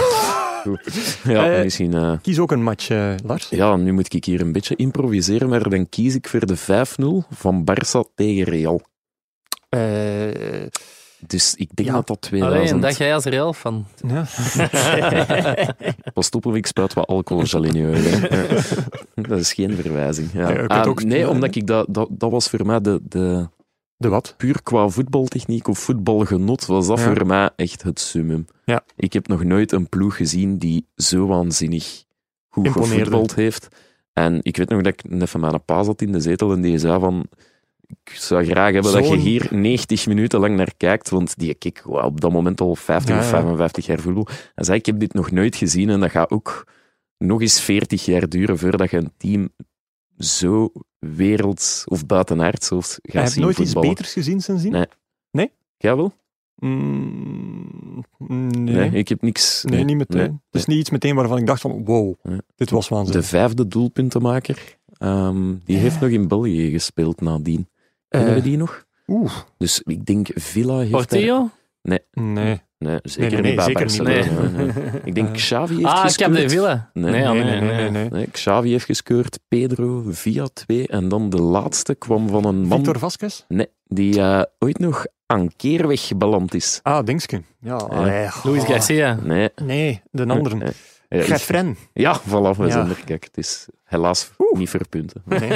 Speaker 2: Ja,
Speaker 1: Eh,
Speaker 2: misschien. eh,
Speaker 1: Kies ook een match, eh, Lars.
Speaker 2: ja, nu moet ik hier een beetje improviseren, maar dan kies ik voor de 5-0 van Barça tegen Real.
Speaker 1: Eh,
Speaker 2: Dus ik denk
Speaker 1: Ja.
Speaker 2: dat dat
Speaker 3: Alleen
Speaker 2: 2000...
Speaker 3: een dag jij als Real van.
Speaker 1: ja.
Speaker 2: Pas op of ik spuit wat alcohol zal in
Speaker 1: *laughs*
Speaker 2: je ogen, hè. Dat is geen verwijzing. Ja.
Speaker 1: Nee, je kunt
Speaker 2: Ah,
Speaker 1: ook-
Speaker 2: nee, omdat ik dat, dat... Dat was voor mij de... de
Speaker 1: De wat?
Speaker 2: puur qua voetbaltechniek of voetbalgenot was dat
Speaker 1: Ja.
Speaker 2: voor mij echt het summum.
Speaker 1: Ja.
Speaker 2: Ik heb nog nooit een ploeg gezien die zo waanzinnig goed
Speaker 1: Imponeerde.
Speaker 2: gevoetbald heeft. En ik weet nog dat ik net van mijn pa zat in de zetel en die zei van... Ik zou graag hebben dat je
Speaker 1: Zo'n-
Speaker 2: hier 90 minuten lang naar kijkt, want die keek wauw, op dat moment al 50
Speaker 1: Ja,
Speaker 2: of
Speaker 1: ja.
Speaker 2: 55 jaar voetbal. Hij zei, ik heb dit nog nooit gezien en dat gaat ook nog eens 40 jaar duren voordat je een team zo werelds of buitenaards of gaat
Speaker 1: Heb je
Speaker 2: zien
Speaker 1: nooit
Speaker 2: voetballen.
Speaker 1: iets beters gezien sindsdien?
Speaker 2: Nee. Jij wel?
Speaker 1: Mm, nee.
Speaker 2: Nee,
Speaker 1: nee.
Speaker 2: ik heb niks. nee.
Speaker 1: niet meteen.
Speaker 2: nee,
Speaker 1: Het is niet iets meteen waarvan ik dacht van, wow,
Speaker 2: Nee.
Speaker 1: dit was waanzin.
Speaker 2: De vijfde doelpuntenmaker, ehm, die
Speaker 1: Ja.
Speaker 2: heeft nog in België gespeeld nadien.
Speaker 1: Eh,
Speaker 2: Kennen we die nog?
Speaker 1: Oeh,
Speaker 2: Dus ik denk Villa heeft daar-
Speaker 3: Portillo?
Speaker 1: nee.
Speaker 2: Nee, zeker
Speaker 1: nee, nee,
Speaker 2: niet
Speaker 1: zeker
Speaker 2: bij
Speaker 1: niet.
Speaker 2: Barcelona.
Speaker 3: Nee.
Speaker 2: Nee, nee. Ik denk
Speaker 1: *laughs* Eh.
Speaker 2: Xavi heeft
Speaker 3: Ah, ik heb
Speaker 2: gescoord.
Speaker 3: de Villa.
Speaker 2: Nee.
Speaker 3: Nee, ah, nee, nee,
Speaker 2: Nee, Xavi heeft gescoord, Pedro, via 2. En dan de laatste kwam van een man
Speaker 1: Victor Vasquez?
Speaker 2: nee, die eh, ooit nog aan keerweg beland is.
Speaker 1: Ah, Dingske. Ja, allee,
Speaker 3: Luis
Speaker 1: oh.
Speaker 3: Garcia.
Speaker 2: Nee.
Speaker 1: Nee, de andere.
Speaker 2: Eh, eh,
Speaker 1: Gert Fren.
Speaker 2: Ja, voilà, we
Speaker 1: Ja.
Speaker 2: zijn er. Kijk, het is helaas niet voor punten.
Speaker 1: Nee.
Speaker 2: *laughs*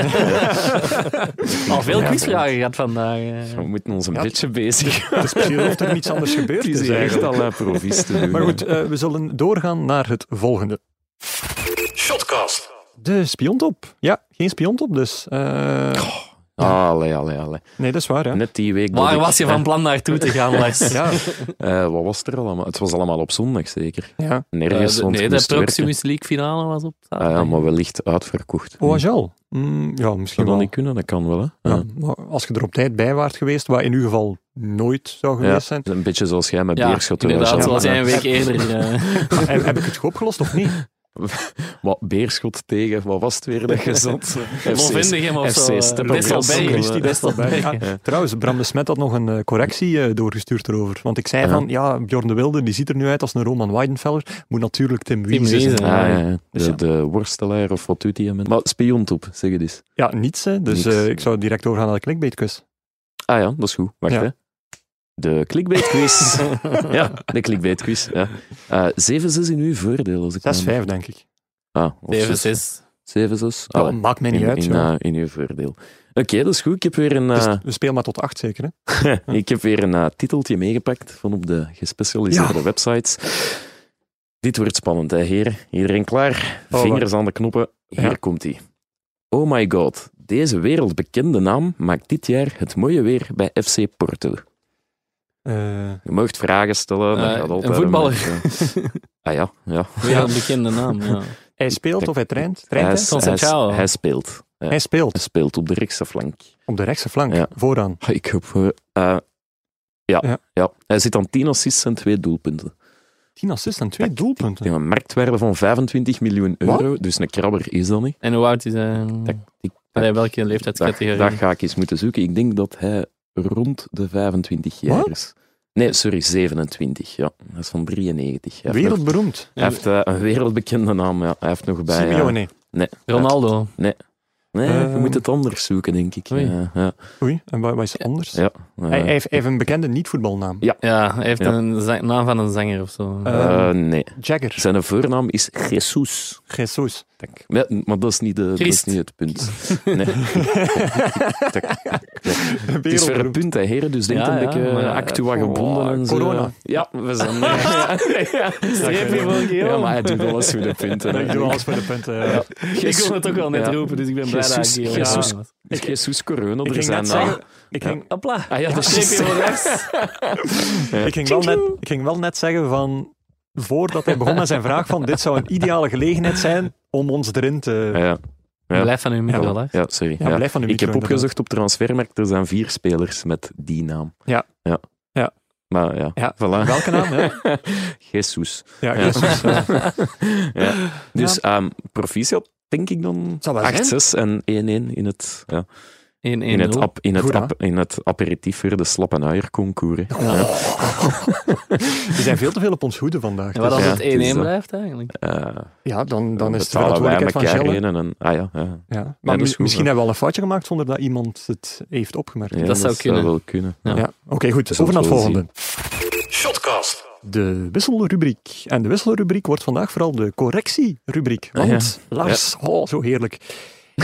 Speaker 3: Al veel
Speaker 1: Ja,
Speaker 3: quizvragen gehad vandaag. eh.
Speaker 2: We moeten ons een
Speaker 1: Ja.
Speaker 2: beetje bezig
Speaker 1: Het is misschien of er niets anders gebeurd
Speaker 2: Het is
Speaker 1: is
Speaker 2: hier echt
Speaker 1: eigenlijk.
Speaker 2: al eh, provis te doen.
Speaker 1: Maar goed, eh, we zullen doorgaan naar het volgende.
Speaker 4: Shotcast.
Speaker 1: De spiontop. Ja, geen spiontop dus. Eh,
Speaker 2: Allee, allee, allee.
Speaker 1: nee, dat is waar. Hè?
Speaker 2: Net die week... dat
Speaker 3: Waar
Speaker 2: ik-
Speaker 3: was je van plan naartoe te gaan,
Speaker 2: *laughs*
Speaker 3: Les?
Speaker 1: Ja,
Speaker 2: Eh, wat was er allemaal? Het was allemaal op zondag, zeker.
Speaker 1: ja.
Speaker 2: Nergens,
Speaker 3: Eh, de-
Speaker 2: want
Speaker 3: nee,
Speaker 2: ik
Speaker 3: de
Speaker 2: moest werken.
Speaker 3: Proximus League finale was op
Speaker 2: Ah, ja,
Speaker 3: zaterdag.
Speaker 2: maar wellicht uitverkocht.
Speaker 1: Oagel. Mm, ja, misschien
Speaker 2: Zou dat
Speaker 1: wel.
Speaker 2: niet kunnen? Dat kan wel, hè?
Speaker 1: Ja, maar als je er op tijd bij waart geweest, wat in uw geval nooit zou
Speaker 2: Ja.
Speaker 1: geweest
Speaker 2: *laughs*
Speaker 1: zijn,
Speaker 2: Het is Een beetje zoals jij met Beerschot. en
Speaker 3: inderdaad,
Speaker 2: Oagel.
Speaker 3: zoals jij een
Speaker 2: Ja.
Speaker 3: week eerder. eh,
Speaker 1: heb, heb ik het goed opgelost of niet?
Speaker 2: Wat, Beerschot tegen, wat was het weer dat je zat?
Speaker 3: *laughs*
Speaker 2: FC
Speaker 3: Lofwindigem of
Speaker 2: FC
Speaker 3: zo. eh,
Speaker 2: Steppenwolf.
Speaker 3: Bestelberg.
Speaker 1: Christy Bestelberg.
Speaker 3: Bestelberg.
Speaker 1: Ah, Trouwens, Bram de Smet had nog een eh, correctie eh, doorgestuurd erover. Want ik zei
Speaker 2: Ja.
Speaker 1: van, ja, Bjorn de Wilde, die ziet er nu uit als een Roman Weidenfeller. Moet natuurlijk Tim
Speaker 3: Tim
Speaker 1: Wiese
Speaker 3: Wiese.
Speaker 1: zijn.
Speaker 2: Ah, ja, ja.
Speaker 1: Dus ja.
Speaker 2: De, de worstelaar of wat doet hij? hem? Maar spiontop, zeg het eens.
Speaker 1: Ja, niets. Hè. Dus
Speaker 2: Niks.
Speaker 1: eh, ik zou direct doorgaan naar de clickbaitkus.
Speaker 2: Ah ja, dat is goed. Wacht,
Speaker 1: Ja.
Speaker 2: hè. De clickbait
Speaker 1: *laughs*
Speaker 2: quiz. ja, de clickbait quiz. Ja. Eh, 7-6 in uw voordeel. Als ik me-
Speaker 1: 6-5, denk ik.
Speaker 2: Ah, of
Speaker 3: 7,
Speaker 2: 7-6.
Speaker 3: 6.
Speaker 2: 7-6.
Speaker 1: Ja,
Speaker 2: Allee,
Speaker 1: maakt mij niet
Speaker 2: Oh, Ah, in,
Speaker 1: uit.
Speaker 2: in,
Speaker 1: joh.
Speaker 2: eh, in uw voordeel. Oké, dat is goed. Ik heb weer een,
Speaker 1: Dus
Speaker 2: eh,
Speaker 1: we spelen maar tot 8 zeker. Hè?
Speaker 2: ik heb weer een eh, titeltje meegepakt van op de gespecialiseerde websites. Dit wordt spannend, hè, heren. Iedereen klaar?
Speaker 1: Oh,
Speaker 2: Vingers aan de knoppen.
Speaker 1: Ja.
Speaker 2: Hier komt hij. Oh my god, deze wereldbekende naam maakt dit jaar het mooie weer bij FC Porto.
Speaker 1: Eh,
Speaker 2: Je mag vragen stellen. dat
Speaker 3: Eh,
Speaker 2: gaat altijd
Speaker 3: een voetballer.
Speaker 2: een beetje- ah ja,
Speaker 3: *laughs*
Speaker 2: ja.
Speaker 3: Ja, een bekende naam. Ja.
Speaker 1: hij speelt of hij traint? traint hij?
Speaker 2: Hij, is-
Speaker 3: Van
Speaker 2: hij, is-
Speaker 3: Santiago.
Speaker 2: hij speelt.
Speaker 1: Hij speelt
Speaker 2: Hij speelt op de rechtse flank.
Speaker 1: op de rechtse flank,
Speaker 2: Ja.
Speaker 1: vooraan.
Speaker 2: Ah, Ik heb... eh, eh, ja,
Speaker 1: Ja.
Speaker 2: ja. hij zit aan 10 assists en 2 doelpunten.
Speaker 1: 10 assists en 2
Speaker 2: Ik
Speaker 1: doelpunten.
Speaker 2: denk een marktwaarde van 25 miljoen
Speaker 1: Wat?
Speaker 2: euro, dus een krabber is dat niet.
Speaker 3: En hoe oud is hij?
Speaker 2: tik,
Speaker 3: Allee, welke
Speaker 2: Dat,
Speaker 3: leeftijdscategorie?
Speaker 2: dat ga ik eens moeten zoeken. Ik denk dat hij rond de 25 jaar
Speaker 1: Wat?
Speaker 2: is. Nee, sorry, 27. Ja, dat is van 93. Hij heeft nog-
Speaker 1: Wereldberoemd.
Speaker 2: Hij heeft eh, een wereldbekende naam. Ja. Hij heeft nog bij... eh,
Speaker 1: Simeone.
Speaker 3: Ronaldo.
Speaker 2: Nee, je
Speaker 1: Ehm.
Speaker 2: moet het anders zoeken, denk ik.
Speaker 3: Oei.
Speaker 2: Ja, ja,
Speaker 1: Oei, en wat, wat is anders?
Speaker 2: ja. eh,
Speaker 1: Hij, hij heeft, hij heeft een bekende niet-voetbalnaam.
Speaker 2: Ja.
Speaker 3: Ja, hij heeft
Speaker 2: Ja.
Speaker 3: een za- naam van een zanger of zo.
Speaker 1: Eh,
Speaker 2: Eh, nee,
Speaker 1: Jagger.
Speaker 2: zijn voornaam is Jesus.
Speaker 1: Jesus. *laughs*
Speaker 2: Tak. Ja, maar dat is niet, de, dat is
Speaker 3: Christ.
Speaker 2: niet het punt. Nee. Het is voor het punt, hè, heren. Dus denk
Speaker 3: Ja,
Speaker 2: een
Speaker 3: ja,
Speaker 2: beetje
Speaker 3: maar ja,
Speaker 2: actua
Speaker 1: oh,
Speaker 2: gebonden. en zo.
Speaker 1: corona.
Speaker 2: Ja, we zijn... ja,
Speaker 3: Streepje voor Guillaume.
Speaker 2: Ja, maar hij doet wel eens voor de punten. hè.
Speaker 1: Ik doe alles voor de punten. eh.
Speaker 2: Ja.
Speaker 3: Ik kon het ook al net
Speaker 2: Ja.
Speaker 3: roepen, dus ik ben blij dat
Speaker 2: Jesus-
Speaker 3: ik hier
Speaker 1: Jesus-
Speaker 3: was.
Speaker 2: Ik- Jesus Corona,
Speaker 1: Ik
Speaker 2: er
Speaker 1: ging
Speaker 2: zijn...
Speaker 1: net
Speaker 2: naam-
Speaker 1: zeggen... Ik ging,
Speaker 3: Hopla.
Speaker 2: Ah ja, dat is *laughs*
Speaker 3: Streepje voor
Speaker 2: juist.
Speaker 3: rechts.
Speaker 1: ik, ging wel net, ik ging wel net zeggen van... Voordat hij begon met zijn vraag van... Dit zou een ideale gelegenheid zijn om ons erin te...
Speaker 2: Ja, Ja.
Speaker 3: Blijf van uw micro, hè.
Speaker 2: ja, sorry.
Speaker 1: Ja,
Speaker 2: ja.
Speaker 1: blijf van uw
Speaker 2: Ik heb
Speaker 1: micro, inderdaad.
Speaker 2: opgezocht op transfermarkt, er zijn vier spelers met die naam.
Speaker 1: Ja.
Speaker 2: Ja.
Speaker 1: Ja.
Speaker 2: Maar ja,
Speaker 1: Ja,
Speaker 2: voilà.
Speaker 1: Welke naam? Hè?
Speaker 2: *laughs* Jesus.
Speaker 1: Ja,
Speaker 2: *laughs* Ja.
Speaker 1: Jesus. ja.
Speaker 2: Ja. Dus ehm, proficiat, denk ik dan.
Speaker 1: Zal wel
Speaker 2: 8-6 en 1-1 in het, ja,
Speaker 3: 1
Speaker 2: in het, ap, in, het
Speaker 1: Goed, hè?
Speaker 2: ap, in het aperitief voor de slap en uier concours.
Speaker 1: *laughs*
Speaker 2: hè.
Speaker 1: We zijn veel te veel op ons hoede vandaag.
Speaker 3: En wat als
Speaker 2: Ja,
Speaker 3: het 1-1
Speaker 2: het is dat.
Speaker 3: blijft, eigenlijk?
Speaker 2: Eh,
Speaker 1: Ja, dan, dan is het
Speaker 2: betalen wij
Speaker 1: verantwoordelijkheid van
Speaker 2: elkaar
Speaker 1: Gelle.
Speaker 2: in en een- ah ja, ja.
Speaker 1: Ja. Maar
Speaker 2: dat is
Speaker 1: mis-
Speaker 2: goed,
Speaker 1: misschien
Speaker 2: hè.
Speaker 1: hebben we al een foutje gemaakt zonder dat iemand het heeft opgemerkt.
Speaker 2: Ja,
Speaker 3: zou kunnen.
Speaker 2: wel kunnen.
Speaker 1: Ja.
Speaker 2: Ja.
Speaker 1: Oké, goed.
Speaker 2: zullen
Speaker 1: Over naar het
Speaker 2: het wel
Speaker 1: volgende.
Speaker 4: Shotcast.
Speaker 1: De wisselrubriek. En de wisselrubriek wordt vandaag vooral de correctierubriek.
Speaker 2: Ah,
Speaker 1: Want, Lars, oh, zo heerlijk.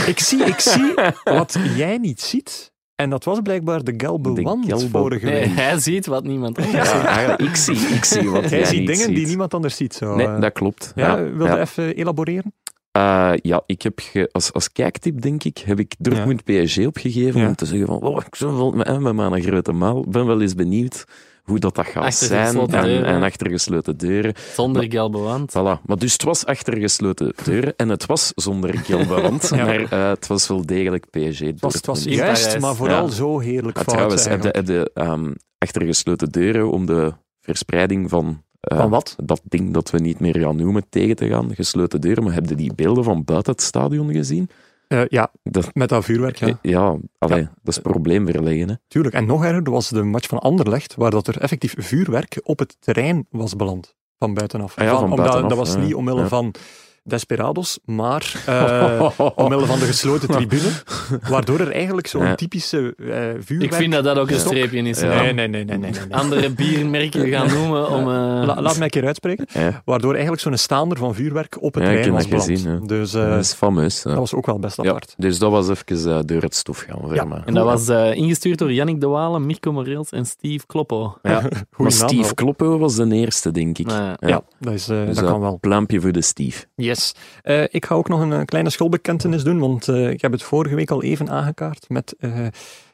Speaker 1: Ik zie, ik
Speaker 2: *laughs*
Speaker 1: zie wat jij niet ziet. En dat was blijkbaar de
Speaker 2: De
Speaker 1: Gelbewand
Speaker 2: Gelbe-
Speaker 1: vorige
Speaker 3: Nee,
Speaker 1: week.
Speaker 3: hij ziet wat niemand anders
Speaker 2: Ah, Ja, eigenlijk, ik zie, ik zie wat
Speaker 1: Jij
Speaker 2: jij
Speaker 1: ziet
Speaker 2: niet
Speaker 1: dingen die
Speaker 2: ziet.
Speaker 1: niemand anders ziet. Zo. eh.
Speaker 2: Nee, dat klopt.
Speaker 1: ja, wilde
Speaker 2: ja.
Speaker 1: even elaboreren?
Speaker 2: Eh, ja, ik heb ge- als, als kijktip, denk ik, heb ik Dortmund PSG opgegeven
Speaker 1: Ja.
Speaker 2: om te zeggen van, oh, ik zou wel met, met mijn grote maal, ben wel eens benieuwd hoe dat, dat gaat
Speaker 3: Achter
Speaker 2: zijn.
Speaker 3: gesloten
Speaker 2: En,
Speaker 3: deuren.
Speaker 2: en achter gesloten deuren.
Speaker 3: zonder Gelbewand.
Speaker 2: Voilà. Maar dus het was achter gesloten deuren en het was zonder
Speaker 1: *laughs*
Speaker 2: Gilberland,
Speaker 1: Ja.
Speaker 2: maar eh, het was wel degelijk PSG
Speaker 1: Het was, het was
Speaker 2: Dortmund.
Speaker 3: in
Speaker 1: juist,
Speaker 3: Parijs.
Speaker 1: maar vooral
Speaker 2: Ja.
Speaker 1: zo heerlijk
Speaker 2: Maar
Speaker 1: fout.
Speaker 2: trouwens, heb je,
Speaker 1: eigenlijk.
Speaker 2: heb je ehm, achter gesloten deuren om de verspreiding van... eh,
Speaker 1: Van wat?
Speaker 2: Dat ding dat we niet meer gaan noemen tegen te gaan, gesloten deuren. Maar heb je die beelden van buiten het stadion gezien?
Speaker 1: Eh, ja,
Speaker 2: Dat,
Speaker 1: met dat vuurwerk, ja.
Speaker 2: ja, allee, dat is probleem verlegen. Hè.
Speaker 1: Tuurlijk. En nog erger was de match van Anderlecht, waar dat er effectief vuurwerk op het terrein was beland. Van buitenaf.
Speaker 2: Ah ja, van
Speaker 1: omdat,
Speaker 2: buitenaf,
Speaker 1: dat was
Speaker 2: ja.
Speaker 1: niet omwille
Speaker 2: Ja.
Speaker 1: van desperados, maar
Speaker 2: *laughs*
Speaker 1: eh omwille van de gesloten tribune. Waardoor er eigenlijk zo'n
Speaker 2: Ja.
Speaker 1: typische eh vuurwerk...
Speaker 3: Ik vind dat dat ook een
Speaker 1: Stok.
Speaker 3: streepje is.
Speaker 2: Ja. Ah.
Speaker 3: hè.
Speaker 1: Nee, nee, nee, nee, nee. nee, nee.
Speaker 3: Andere biermerken gaan noemen om... eh,
Speaker 1: La- laat mij een keer uitspreken.
Speaker 2: Ja,
Speaker 1: Waardoor eigenlijk zo'n staander van vuurwerk op het
Speaker 2: Ja, ik
Speaker 1: terrein
Speaker 2: heb
Speaker 1: was
Speaker 2: dat
Speaker 1: beland.
Speaker 2: gezien, ja.
Speaker 1: Dus eh,
Speaker 2: dat is fameus. ja.
Speaker 1: dat was ook wel best
Speaker 2: Ja,
Speaker 1: apart.
Speaker 2: dus dat was even eh, door het stof gaan.
Speaker 1: Ja.
Speaker 2: Ja. Maar.
Speaker 3: En dat was eh, ingestuurd door Yannick De Waal, Mirko Moreels en Steve Kloppo.
Speaker 2: Ja. Maar
Speaker 1: naam
Speaker 2: Steve
Speaker 1: wel.
Speaker 2: Kloppo was de eerste, denk ik.
Speaker 3: Nou ja.
Speaker 1: Eh, Ja, dat, is, eh,
Speaker 2: Dus
Speaker 1: dat kan wel.
Speaker 2: Pluimpje voor de Steve.
Speaker 1: Yes. Eh, ik ga ook nog een eh, kleine schoolbekentenis doen, want eh, ik heb het vorige week al even aangekaart met eh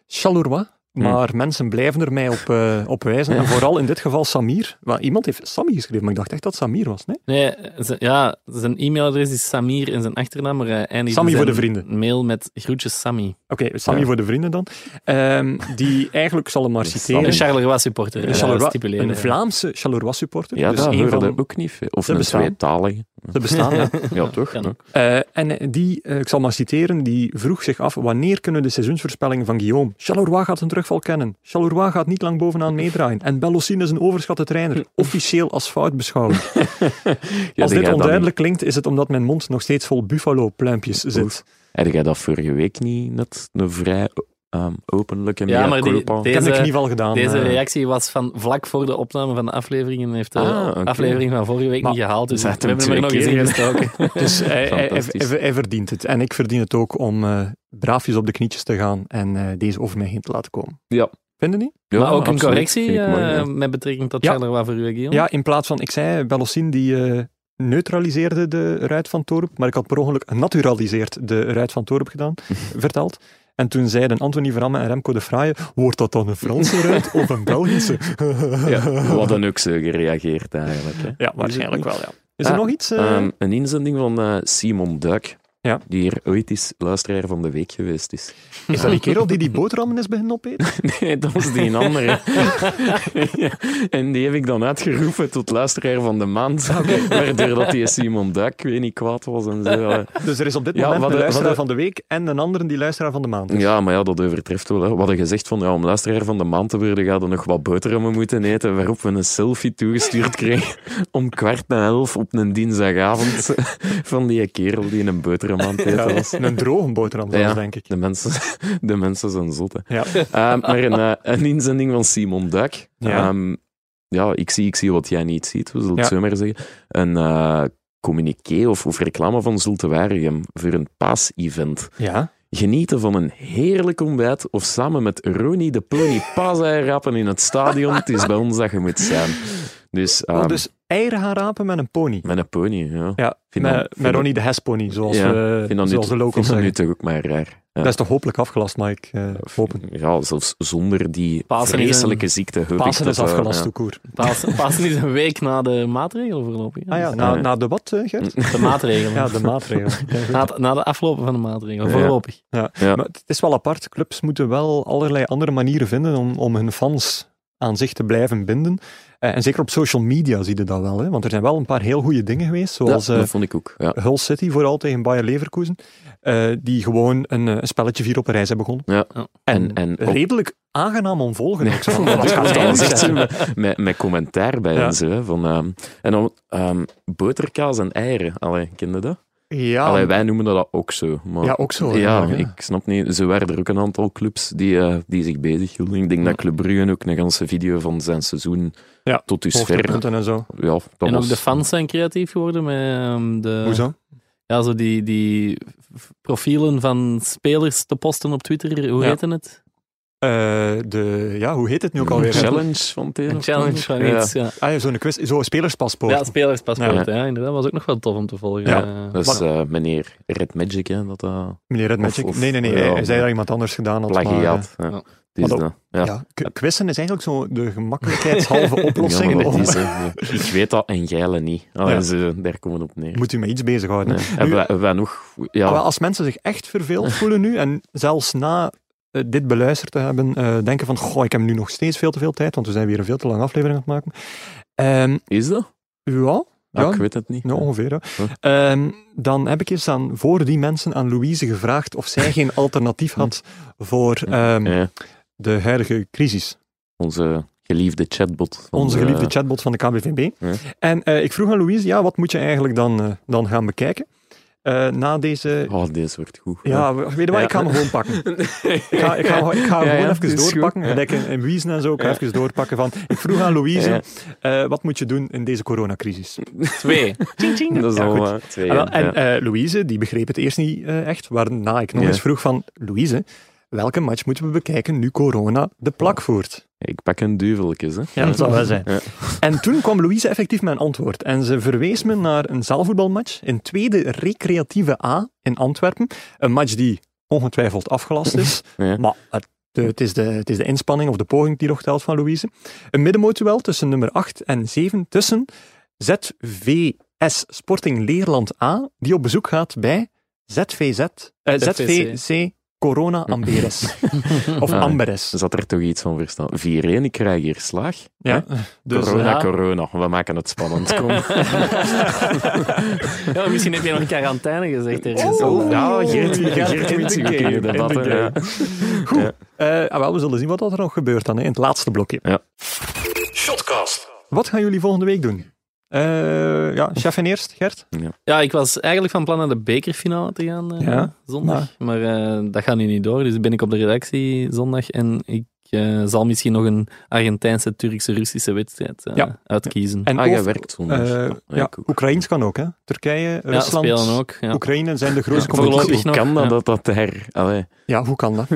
Speaker 1: Charleroi.
Speaker 2: Hmm.
Speaker 1: Maar mensen blijven er mij op, eh, op wijzen. En vooral in dit geval Samir. Wel, iemand heeft Samir geschreven, maar ik dacht echt dat Samir was. Nee?
Speaker 3: Nee, z- ja, zijn e-mailadres is Samir en zijn achternaam, maar hij eindigde
Speaker 1: Sammy voor
Speaker 3: zijn
Speaker 1: de vrienden.
Speaker 3: mail met groetjes Sammy.
Speaker 1: Oké, Samir
Speaker 2: Ja.
Speaker 1: voor de vrienden dan. Ehm, die eigenlijk, ik zal hem maar
Speaker 2: Samir.
Speaker 1: citeren.
Speaker 3: Een Charleroi supporter.
Speaker 1: Een,
Speaker 3: eh,
Speaker 1: Charleroi-
Speaker 3: stipuleren.
Speaker 1: een Vlaamse Charleroi supporter.
Speaker 2: Ja,
Speaker 1: dus
Speaker 2: dat
Speaker 1: een
Speaker 2: hoorde
Speaker 1: van
Speaker 2: ook niet veel. Of
Speaker 1: Ze
Speaker 2: een
Speaker 1: bestaan.
Speaker 2: tweetalige.
Speaker 1: de bestaan.
Speaker 2: *laughs*
Speaker 1: ja.
Speaker 2: Ja, toch?
Speaker 3: kan
Speaker 2: Ja.
Speaker 1: Eh, en eh, die, eh, ik zal maar citeren, die vroeg zich af wanneer kunnen de seizoensvoorspellingen van Guillaume. Charleroi gaat een terugval kennen. Charleroi gaat niet lang bovenaan meedraaien. En Bellocine is een overschatte trainer. Officieel als fout beschouwen.
Speaker 2: Hm. *laughs* Ja,
Speaker 1: als
Speaker 2: die
Speaker 1: dit
Speaker 2: gaat dat
Speaker 1: onduidelijk klinkt, is het omdat mijn mond nog steeds vol buffalo-pluimpjes zit.
Speaker 2: niet- Had jij dat vorige week niet net een vrij ehm, openlijke
Speaker 3: Ja,
Speaker 2: mea
Speaker 3: maar die-
Speaker 2: culpa?
Speaker 3: die-
Speaker 1: Dat heb
Speaker 3: Deze-
Speaker 1: ik niet al gedaan.
Speaker 3: Deze
Speaker 1: eh.
Speaker 3: reactie was van vlak voor de opname van de aflevering en heeft de
Speaker 2: Ah, oké.
Speaker 3: aflevering van vorige week
Speaker 1: Maar-
Speaker 3: niet gehaald. Dus we
Speaker 2: Ze had
Speaker 3: hebben
Speaker 2: hem
Speaker 3: hem er nog eens
Speaker 2: twee
Speaker 3: in gestoken.
Speaker 1: Dus hij, hij- hij,
Speaker 2: Fantastisch.
Speaker 1: hij- hij verdient het. En ik verdien het ook om eh, braafjes op de knietjes te gaan en eh, deze over mij heen te laten komen.
Speaker 2: Ja.
Speaker 1: Vinden die?
Speaker 2: Ja,
Speaker 3: maar ook een
Speaker 2: absoluut.
Speaker 3: correctie
Speaker 2: Vind ik mooi,
Speaker 3: eh,
Speaker 2: ja.
Speaker 3: *laughs* met betrekking tot
Speaker 1: Ja.
Speaker 3: Charleroi voor u, Guillaume.
Speaker 1: Ja, in plaats van, ik zei, Bellocine die eh, neutraliseerde de ruit van Torup, maar ik had per ongeluk naturaliseerd de ruit van Torup *laughs* gedaan, verteld. En toen zeiden Anthony Verhamme en Remco de Fraaie, wordt dat dan een Franse *laughs* ruit of een Belgische?
Speaker 2: Ja, wat dan ook zo gereageerd eigenlijk. Hè.
Speaker 1: Ja, waarschijnlijk wel, ja. Is er
Speaker 2: Ah,
Speaker 1: nog iets? eh?
Speaker 2: Ehm, een inzending van eh, Simon Duik,
Speaker 1: Ja.
Speaker 2: die hier ooit is luisteraar van de week geweest is. *laughs*
Speaker 1: is dat die kerel *laughs* die die boterhammen is beginnen opeten?
Speaker 2: Nee, dat was
Speaker 3: *laughs*
Speaker 2: die een andere. *laughs* en die heb ik dan uitgeroepen tot luisteraar van de maand. *laughs* Waardoor dat die Simon Duik weet niet kwaad was en zo. eh.
Speaker 1: Dus er is op dit
Speaker 2: Ja,
Speaker 1: moment
Speaker 2: wat
Speaker 1: een
Speaker 2: de-
Speaker 1: luisteraar
Speaker 2: wat de-
Speaker 1: van de week en een andere die luisteraar van de maand is.
Speaker 2: Ja, maar ja, dat overtreft wel. Hè. We hadden gezegd van, ja, om luisteraar van de maand te worden, gaan we nog wat boterhammen moeten eten, waarop we een selfie
Speaker 1: *laughs*
Speaker 2: toegestuurd kregen om kwart na elf op een
Speaker 1: *laughs*
Speaker 2: dinsdagavond van die kerel die een boterham aan het eten was.
Speaker 1: Ja, een droge boterham, zelfs,
Speaker 2: Ja.
Speaker 1: denk ik.
Speaker 2: De mensen, de mensen zijn zot, hè.
Speaker 1: Ja.
Speaker 2: Eh, maar een, eh, een inzending van Simon Duik.
Speaker 1: Ja.
Speaker 2: Ja, ja ik, zie, ik zie wat jij niet ziet, we zullen het
Speaker 1: Ja.
Speaker 2: zo maar zeggen. Een eh communiqué of, of reclame van Zulte Waregem voor een paas-event.
Speaker 1: *laughs* Ja.
Speaker 2: Genieten van een heerlijk ontbijt of samen met Ronnie de Pony paasei rapen in het stadion. Het is bij ons dat je moet zijn. Dus, ehm,
Speaker 1: dus eieren gaan rapen met een pony.
Speaker 2: met een pony, ja.
Speaker 1: Ja,
Speaker 2: Vind
Speaker 1: met,
Speaker 2: dat-
Speaker 1: met
Speaker 2: vind dat-
Speaker 1: Ronnie de Hespony, zoals,
Speaker 2: Ja,
Speaker 1: we,
Speaker 2: Vind dat nu,
Speaker 1: zoals de locals
Speaker 2: vind dat
Speaker 1: zeggen.
Speaker 2: nu toch ook maar raar. Ja.
Speaker 1: Dat is toch hopelijk afgelast, Mike? eh hopen.
Speaker 2: Ja, zelfs zonder die
Speaker 3: Pasen is
Speaker 2: vreselijke ziekte. hoop ik
Speaker 1: Pasen
Speaker 2: dat
Speaker 1: is
Speaker 2: dat-
Speaker 1: afgelast,
Speaker 2: ja.
Speaker 1: tout court.
Speaker 3: Pasen, Pasen is een week na de maatregelen voorlopig.
Speaker 1: Ah ja, na, na de wat, eh,
Speaker 2: *laughs*
Speaker 1: Gert?
Speaker 3: De maatregelen.
Speaker 1: Ja, de maatregelen. Ja, goed.
Speaker 3: na, het- na de aflopen van de maatregelen,
Speaker 2: Ja.
Speaker 3: voorlopig.
Speaker 2: Ja.
Speaker 1: Maar het is wel apart. Clubs moeten wel allerlei andere manieren vinden om, om hun fans aan zich te blijven binden. Eh, en zeker op social media zie je dat wel. Hè? Want er zijn wel een paar heel goede dingen geweest, zoals...
Speaker 2: Ja,
Speaker 1: eh,
Speaker 2: dat vond ik ook. Ja.
Speaker 1: Hull City vooral tegen Bayer Leverkusen, eh, die gewoon een, eh, een spelletje vier op een rij hebben begonnen.
Speaker 2: Ja.
Speaker 3: Ja.
Speaker 1: En,
Speaker 2: En- en ook-
Speaker 1: redelijk aangenaam om volgen. ook. Zo van, wat gaat
Speaker 2: Dat
Speaker 1: hij nu
Speaker 2: was echt zo
Speaker 1: zeggen?
Speaker 2: met, met, met commentaar bij
Speaker 1: Ja.
Speaker 2: ons. Hè, van, ehm, en dan ehm, boterkaas en eieren. Allee, ken je dat?
Speaker 1: Ja,
Speaker 2: Allee, wij noemen dat ook zo. Maar,
Speaker 1: Oh, ja, ook zo.
Speaker 2: ja,
Speaker 1: eigenlijk, hè.
Speaker 2: ik snap niet. Zo waren er ook een aantal clubs die, eh, die zich bezighielden. Ik denk dat Club Brugge ook een ganse video van zijn seizoen
Speaker 1: Ja,
Speaker 2: tot dusver...
Speaker 1: Hoogtepunten en zo.
Speaker 2: Ja, dat
Speaker 3: en ook
Speaker 2: was-
Speaker 3: de fans zijn creatief geworden met ehm, de...
Speaker 1: Hoezo?
Speaker 3: Ja, zo die, die f- profielen van spelers te posten op Twitter. Hoe
Speaker 1: Ja.
Speaker 3: heette het?
Speaker 1: Eh, de, ja, hoe heet het nu ook
Speaker 2: Een
Speaker 1: alweer?
Speaker 2: challenge van het een
Speaker 3: Een
Speaker 2: of
Speaker 3: challenge
Speaker 2: het
Speaker 3: van
Speaker 2: ander.
Speaker 3: iets, ja.
Speaker 1: Ah, ja, zo'n quiz, zo'n spelerspaspoort.
Speaker 3: Ja, spelerspaspoort, ja.
Speaker 2: Ja.
Speaker 3: inderdaad. Was ook nog wel tof om te volgen.
Speaker 1: Ja.
Speaker 3: Eh,
Speaker 2: Dat is eh, meneer Red Magic, hè, dat eh, dat
Speaker 1: Meneer Redmatchik.
Speaker 2: Of- of-
Speaker 1: nee, nee, nee.
Speaker 2: ja,
Speaker 1: hij- hij zei
Speaker 2: maar-
Speaker 1: dat iemand anders gedaan had. Maar, eh,
Speaker 2: plagiaat. ja.
Speaker 3: ja.
Speaker 2: Het is
Speaker 1: Maar
Speaker 2: dat, ja.
Speaker 1: ja, k- quizzen is eigenlijk zo de gemakkelijkheidshalve oplossing.
Speaker 2: *laughs* Ja, maar dat
Speaker 1: om- *laughs*
Speaker 2: is, eh, ik weet dat en geile niet. Allee,
Speaker 1: Ja.
Speaker 2: ze, daar komen we op neer.
Speaker 1: Moet u met iets bezighouden.
Speaker 2: Nee.
Speaker 1: hè.
Speaker 2: Hebben
Speaker 1: Nu-
Speaker 2: wij, hebben wij nog... Ja,
Speaker 1: Ah, wel, als mensen zich echt
Speaker 2: *laughs*
Speaker 1: verveeld voelen nu, en zelfs na eh, dit beluisterd te hebben, eh, denken van, goh, ik heb nu nog steeds veel te veel tijd, want we zijn weer een veel te lange aflevering aan het maken. Ehm,
Speaker 2: is dat?
Speaker 1: ja,
Speaker 2: Ah,
Speaker 1: Ja,
Speaker 2: ik weet het niet.
Speaker 1: Ja, ongeveer. ja. Ehm, dan heb ik eens aan, voor die mensen aan Louise gevraagd of zij
Speaker 2: *laughs*
Speaker 1: geen alternatief had voor ehm,
Speaker 2: Ja,
Speaker 1: de huidige crisis.
Speaker 2: onze geliefde chatbot. van
Speaker 1: Onze
Speaker 2: de-
Speaker 1: geliefde chatbot van de KBVB.
Speaker 2: eh, Ja.
Speaker 1: En eh, ik vroeg aan Louise, ja, wat moet je eigenlijk dan, eh, dan gaan bekijken? Eh, na deze...
Speaker 2: Oh, deze wordt goed.
Speaker 1: Ja, weet je wat,
Speaker 2: Ja.
Speaker 1: ik ga hem gewoon pakken. Ik ga, ik ga,
Speaker 2: *laughs*
Speaker 1: ik ga hem
Speaker 2: Ja,
Speaker 1: gewoon
Speaker 2: ja,
Speaker 1: even
Speaker 2: is goed.
Speaker 1: doorpakken. *laughs*
Speaker 2: Ja.
Speaker 1: Gelijk in, in Wiesen en zo, ik ga even doorpakken van... Ik vroeg aan Louise,
Speaker 2: Ja.
Speaker 1: eh, wat moet je doen in deze coronacrisis?
Speaker 3: Twee.
Speaker 2: Dat is
Speaker 1: Ja,
Speaker 2: al
Speaker 1: goed.
Speaker 2: eh, twee.
Speaker 1: Ah, wel,
Speaker 2: ja.
Speaker 1: en
Speaker 2: Ja.
Speaker 1: eh, Louise, die begreep het eerst niet eh, echt, waarna ik nog
Speaker 2: Ja.
Speaker 1: eens vroeg van... Louise, welke match moeten we bekijken nu corona de plak voert?
Speaker 2: Ik pak een duveltjes, hè.
Speaker 1: Ja, dat zal *laughs*
Speaker 3: *laughs*
Speaker 1: wel zijn.
Speaker 2: Ja.
Speaker 1: En toen kwam Louise effectief met een antwoord. En ze verwees me naar een zaalvoetbalmatch in tweede recreatieve A in Antwerpen. Een match die ongetwijfeld afgelast is.
Speaker 2: *laughs* Ja.
Speaker 1: Maar het, de- het, is de, het is de inspanning of de poging die nog telt van Louise. Een middenmootduel tussen nummer 8 en 7 tussen ZVS Sporting Leerland A, die op bezoek gaat bij ZVZ, eh,
Speaker 3: ZVC.
Speaker 1: ZVC Corona
Speaker 2: *laughs*
Speaker 1: Amberes. of
Speaker 2: Ah.
Speaker 1: Amberes.
Speaker 2: Zat er toch iets van verstaan? 4-1, ik krijg hier slag.
Speaker 1: Ja. Dus,
Speaker 2: corona,
Speaker 3: ja.
Speaker 2: corona. We maken het
Speaker 1: *laughs*
Speaker 2: spannend. Kom.
Speaker 3: Ja, misschien heb je nog quarantaine gezegd ergens.
Speaker 1: Oh.
Speaker 2: ja, Geert,
Speaker 1: Ja,
Speaker 2: Geert
Speaker 1: in
Speaker 2: moet
Speaker 1: de
Speaker 2: zich ook
Speaker 1: game,
Speaker 2: in de
Speaker 1: in
Speaker 2: debat,
Speaker 1: de
Speaker 2: hè. Ja.
Speaker 1: Goed. Eh, ah, wel, we zullen zien wat er nog gebeurt dan hè, in het laatste blokje.
Speaker 4: Shotcast.
Speaker 1: Wat gaan jullie volgende week doen? Eh, ja, chef en eerst, Gert.
Speaker 3: Ja, ik was eigenlijk van plan naar de bekerfinale te gaan eh,
Speaker 1: Ja, Nou.
Speaker 3: zondag. Maar eh, dat gaat nu niet door, dus ben ik op de redactie zondag. En ik eh, zal misschien nog een Argentijnse, Turkse, Russische wedstrijd eh,
Speaker 1: Ja.
Speaker 3: uitkiezen.
Speaker 1: En
Speaker 2: Ah, jij
Speaker 1: of-
Speaker 2: werkt zondag.
Speaker 1: eh,
Speaker 2: Ja,
Speaker 1: ja,
Speaker 2: cool.
Speaker 1: Oekraïns kan ook, hè? Turkije,
Speaker 3: ja,
Speaker 1: Rusland.
Speaker 3: spelen ook. Ja.
Speaker 1: Oekraïne zijn de grootste
Speaker 3: Ja,
Speaker 1: competitie.
Speaker 2: Hoe
Speaker 3: voorlopig nog,
Speaker 2: kan
Speaker 3: ja.
Speaker 2: dat dat dat her... Allee,
Speaker 1: Ja, hoe kan dat?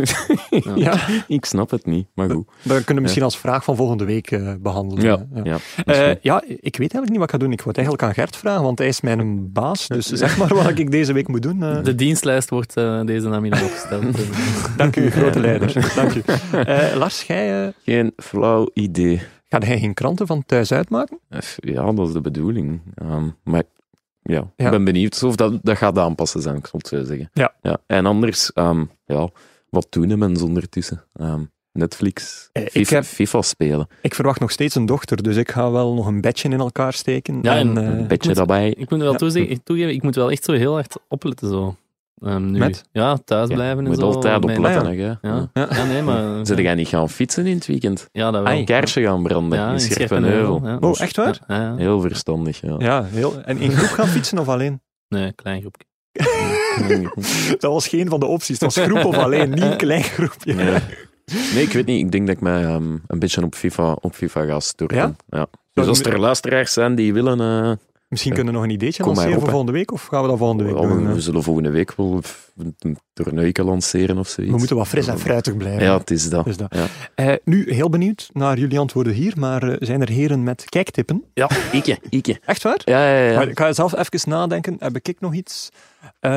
Speaker 1: ja.
Speaker 2: ik snap het niet, maar goed.
Speaker 1: dat kunnen we misschien als vraag van volgende week eh, behandelen.
Speaker 2: Ja, ja. dat is
Speaker 1: Eh,
Speaker 2: goed.
Speaker 1: ja, ik weet eigenlijk niet wat ik ga doen. Ik wou het eigenlijk aan Gert vragen, want hij is mijn baas. Dus zeg maar wat ik deze week moet doen. eh.
Speaker 3: De dienstlijst wordt eh, deze namiddag
Speaker 1: *laughs*
Speaker 3: opgesteld.
Speaker 1: dank u, grote leider. *laughs* Dank u. Eh, Lars, jij, eh,
Speaker 2: Geen flauw idee.
Speaker 1: gaat hij geen kranten van thuis uitmaken?
Speaker 2: Eff, Eh, Ja, dat is de bedoeling. Ehm, maar ja, ik
Speaker 1: Ja.
Speaker 2: ben benieuwd of dat, dat gaat aanpassen zijn, ik zal het zo zeggen.
Speaker 1: Ja.
Speaker 2: En anders, ehm, ja, wat doen de mensen ondertussen? Ehm, Netflix,
Speaker 1: Eh, ik
Speaker 2: FIFA,
Speaker 1: heb-
Speaker 2: FIFA spelen,
Speaker 1: Ik verwacht nog steeds een dochter, dus ik ga wel nog een bedje in elkaar steken.
Speaker 3: Ja, en-
Speaker 1: eh,
Speaker 2: een beetje
Speaker 3: moet-
Speaker 2: daarbij.
Speaker 3: ik moet wel
Speaker 1: Ja.
Speaker 3: toezeggen- toegeven, ik moet wel echt zo heel hard opletten. Zo. Ehm, nu.
Speaker 1: Met?
Speaker 3: Ja, thuis
Speaker 2: Ja,
Speaker 3: blijven en
Speaker 2: moet
Speaker 3: zo.
Speaker 2: altijd
Speaker 3: Mijn-
Speaker 2: opletten.
Speaker 1: Ah, Ja,
Speaker 2: hè, jij.
Speaker 3: Ja.
Speaker 2: Ja.
Speaker 1: Ja. Ah,
Speaker 3: Ja, nee, maar...
Speaker 2: *laughs* Zullen jij niet gaan fietsen in het weekend? Ah,
Speaker 3: Ja, dat wel.
Speaker 2: Een kaarsje gaan branden
Speaker 3: Ja,
Speaker 2: in
Speaker 3: Scherpenheuvel,
Speaker 2: Scherpenheuvel.
Speaker 3: ja.
Speaker 1: Oh, echt waar?
Speaker 3: Ja, ja.
Speaker 2: Heel verstandig, ja.
Speaker 1: Ja, heel, en in groep gaan fietsen of *laughs* alleen?
Speaker 3: Nee, klein groepje.
Speaker 1: Dat was geen van de opties. Dat was groep of alleen, niet een klein groepje.
Speaker 2: Ja. Nee, ik weet niet. Ik denk dat ik mij ehm, een beetje op FIFA, op FIFA ga storten.
Speaker 1: Ja?
Speaker 2: Ja? Dus als
Speaker 1: je-
Speaker 2: er luisteraars zijn die willen... eh,
Speaker 1: *laughs* Misschien
Speaker 2: Ja.
Speaker 1: kunnen we nog een ideetje
Speaker 2: Kom maar
Speaker 1: lanceren
Speaker 2: op,
Speaker 1: voor
Speaker 2: hè.
Speaker 1: volgende week, of gaan we dat volgende week
Speaker 2: Oh,
Speaker 1: doen? eh? hè?
Speaker 2: we zullen volgende week wel f- een toernooitje lanceren of zoiets.
Speaker 1: We moeten wat fris en fruitig blijven.
Speaker 2: Ja, het is dat.
Speaker 1: Dus dat.
Speaker 2: Ja.
Speaker 1: Eh, nu, heel benieuwd naar jullie antwoorden hier, maar eh, zijn er heren met kijktippen?
Speaker 2: Ja, ikke, ikke.
Speaker 1: Echt waar?
Speaker 2: Ja, ja, ja.
Speaker 1: Maar ik ga zelf even nadenken, heb ik nog iets? Eh,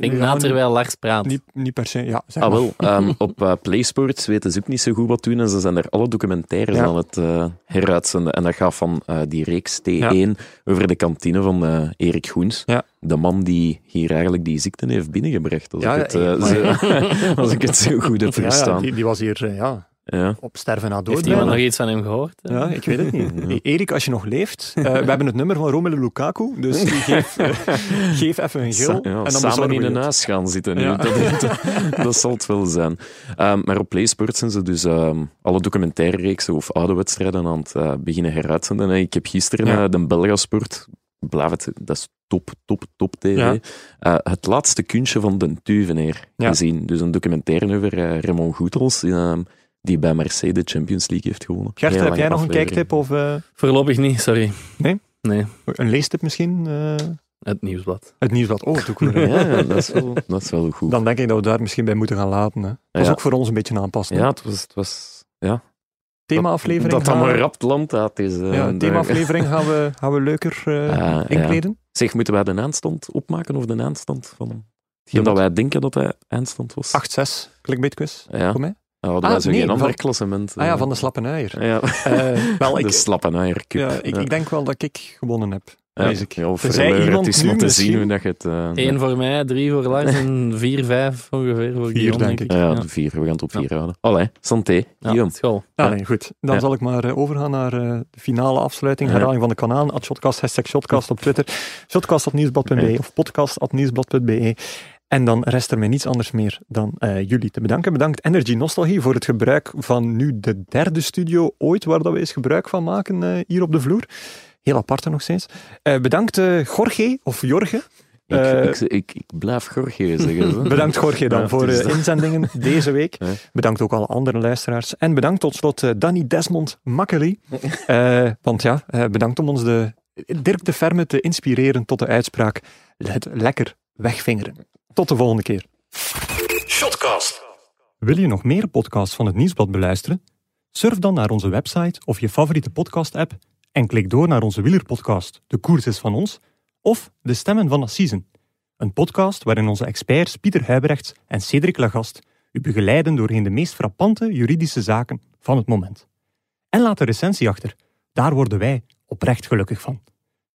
Speaker 3: Ik
Speaker 1: ja,
Speaker 3: na
Speaker 1: niet-
Speaker 3: terwijl Lars praat.
Speaker 1: Niet, niet per se, ja. Zeg
Speaker 2: Ah,
Speaker 1: maar.
Speaker 2: wel. ehm, op eh, PlaySports weten ze ook niet zo goed wat doen en ze zijn er alle documentaires
Speaker 1: Ja.
Speaker 2: aan het eh, heruitzenden. En dat gaat van eh, die reeks T1 over de kantine van eh, Erik Goens.
Speaker 1: Ja.
Speaker 2: De man die hier eigenlijk die ziekte heeft binnengebracht. Als,
Speaker 1: Ja,
Speaker 2: ik, het,
Speaker 1: ja,
Speaker 2: eh,
Speaker 1: maar-
Speaker 2: zo, *laughs* als ik het zo goed heb
Speaker 1: Ja, ja,
Speaker 2: verstaan. Ja,
Speaker 1: die, die was hier eh, ja, op sterven na dood.
Speaker 3: Heeft iemand
Speaker 1: bijna.
Speaker 3: nog iets van hem gehoord? hè?
Speaker 1: Ja, ik weet het
Speaker 2: *laughs*
Speaker 1: niet. Eh, Erik, als je nog leeft, eh, we hebben het nummer van Romelu Lukaku, dus geef,
Speaker 2: *laughs*
Speaker 1: eh, geef even een
Speaker 2: Sa-
Speaker 1: gil.
Speaker 2: ja,
Speaker 1: en dan
Speaker 2: samen
Speaker 1: bezorgen
Speaker 2: in
Speaker 1: we
Speaker 2: een
Speaker 1: je het.
Speaker 2: huis gaan zitten. nu.
Speaker 1: Ja.
Speaker 2: Dat, dat, dat zal het wel zijn. Ehm, maar op PlaySports zijn ze dus ehm, alle documentaire reeksen of oude wedstrijden aan het eh, beginnen heruitzenden. En ik heb gisteren
Speaker 1: Ja.
Speaker 2: eh, de Belgasport, blijf het, dat is top, top, top tv,
Speaker 1: Ja.
Speaker 2: eh, het laatste kunstje van Den Tuveneer
Speaker 1: Ja.
Speaker 2: gezien. Dus een documentaire over eh, Raymond Goetels, ehm, die bij Marseille de Champions League heeft gewonnen.
Speaker 1: Gert,
Speaker 2: Heel
Speaker 1: heb
Speaker 2: lange
Speaker 1: jij nog een
Speaker 2: aflevering.
Speaker 1: kijktip of eh,
Speaker 3: Voorlopig niet, sorry.
Speaker 1: Nee?
Speaker 3: Nee,
Speaker 1: een leestip misschien? eh?
Speaker 3: het nieuwsblad.
Speaker 1: Het nieuwsblad. Oh, te cool.
Speaker 2: Ja, dat is wel, dat is wel goed.
Speaker 1: Dan denk ik *laughs* dat we daar misschien bij moeten gaan laten. Hè. Dat is
Speaker 2: Ja.
Speaker 1: ook voor ons een beetje aanpassen.
Speaker 2: Ja,
Speaker 1: hè.
Speaker 2: het was... Het was ja,
Speaker 1: Themaaflevering.
Speaker 2: Dat dan
Speaker 1: gaan we-
Speaker 2: maar rap het land uit is.
Speaker 1: Ja,
Speaker 2: eh, daar-
Speaker 1: themaaflevering gaan we, *laughs* gaan we leuker eh,
Speaker 2: Ah, ja.
Speaker 1: inkleden.
Speaker 2: *laughs* Zeg, moeten wij de eindstand opmaken of de eindstand van
Speaker 1: Ja,
Speaker 2: hetgeen dat wij denken dat de eindstand was?
Speaker 1: 8-6, clickbait quiz.
Speaker 2: ja.
Speaker 1: voor mij?
Speaker 2: Ja, hadden wij
Speaker 1: Ah,
Speaker 2: zo
Speaker 1: nee,
Speaker 2: geen ander
Speaker 1: van-
Speaker 2: klassement.
Speaker 1: Ah ja,
Speaker 2: eh.
Speaker 1: van de slappe uier.
Speaker 2: Ja.
Speaker 1: *laughs*
Speaker 2: *laughs*
Speaker 1: Eh, wel, ik,
Speaker 2: de slappe Nijer Cup.
Speaker 1: ja, ik, ik denk wel dat ik gewonnen heb. lees ik.
Speaker 2: Ja, of
Speaker 1: Tenzij
Speaker 2: verleur,
Speaker 1: iemand
Speaker 2: het is
Speaker 1: nu
Speaker 2: maar te
Speaker 1: misschien-
Speaker 2: zien hoe dat je het... eh,
Speaker 3: Eén voor mij, drie voor Lars en vier, vijf ongeveer voor Guillaume,
Speaker 1: denk ik.
Speaker 2: ja, ja, de vier. We gaan het op vier houden. Allee, santé.
Speaker 3: Ja,
Speaker 2: Guillaume.
Speaker 3: school.
Speaker 1: Ah, nee, goed. Dan
Speaker 2: Ja.
Speaker 1: zal ik maar eh, overgaan naar eh, de finale afsluiting.
Speaker 2: Ja.
Speaker 1: Herhaling van de kanaal. At Shotcast, hashtag Shotcast op Twitter. Shotcast.nieuwsblad.be
Speaker 2: Ja.
Speaker 1: of podcast.nieuwsblad.be. E. En dan rest er mij niets anders meer dan eh, jullie te bedanken. Bedankt Energy Nostalgie voor het gebruik van nu de derde studio ooit waar dat we eens gebruik van maken eh, hier op de vloer. Heel aparte nog steeds. Eh, bedankt eh Jorge of Jorge. Eh,
Speaker 2: ik, ik, ik, ik blijf
Speaker 1: *laughs*
Speaker 2: Gorgje zeggen. zo.
Speaker 1: Bedankt Gorgje dan
Speaker 2: Ja,
Speaker 1: voor eh,
Speaker 2: het is
Speaker 1: de
Speaker 2: dat. *laughs*
Speaker 1: inzendingen deze week.
Speaker 2: Ja.
Speaker 1: Bedankt ook alle andere luisteraars. En bedankt tot slot eh, Danny Desmond
Speaker 2: *laughs*
Speaker 1: Makkely. Eh, want ja, eh, bedankt om ons de, Dirk de Verme te inspireren tot de uitspraak het lekker wegvingeren. Tot de volgende keer.
Speaker 4: Shotcast.
Speaker 1: Wil je nog meer podcasts van het Nieuwsblad beluisteren? Surf dan naar onze website of je favoriete podcast-app en klik door naar onze wielerpodcast De Koers is van ons of De Stemmen van Assisen. Een podcast waarin onze experts Pieter Huibrechts en Cedric Lagast u begeleiden doorheen de meest frappante juridische zaken van het moment. En laat een recensie achter. Daar worden wij oprecht gelukkig van.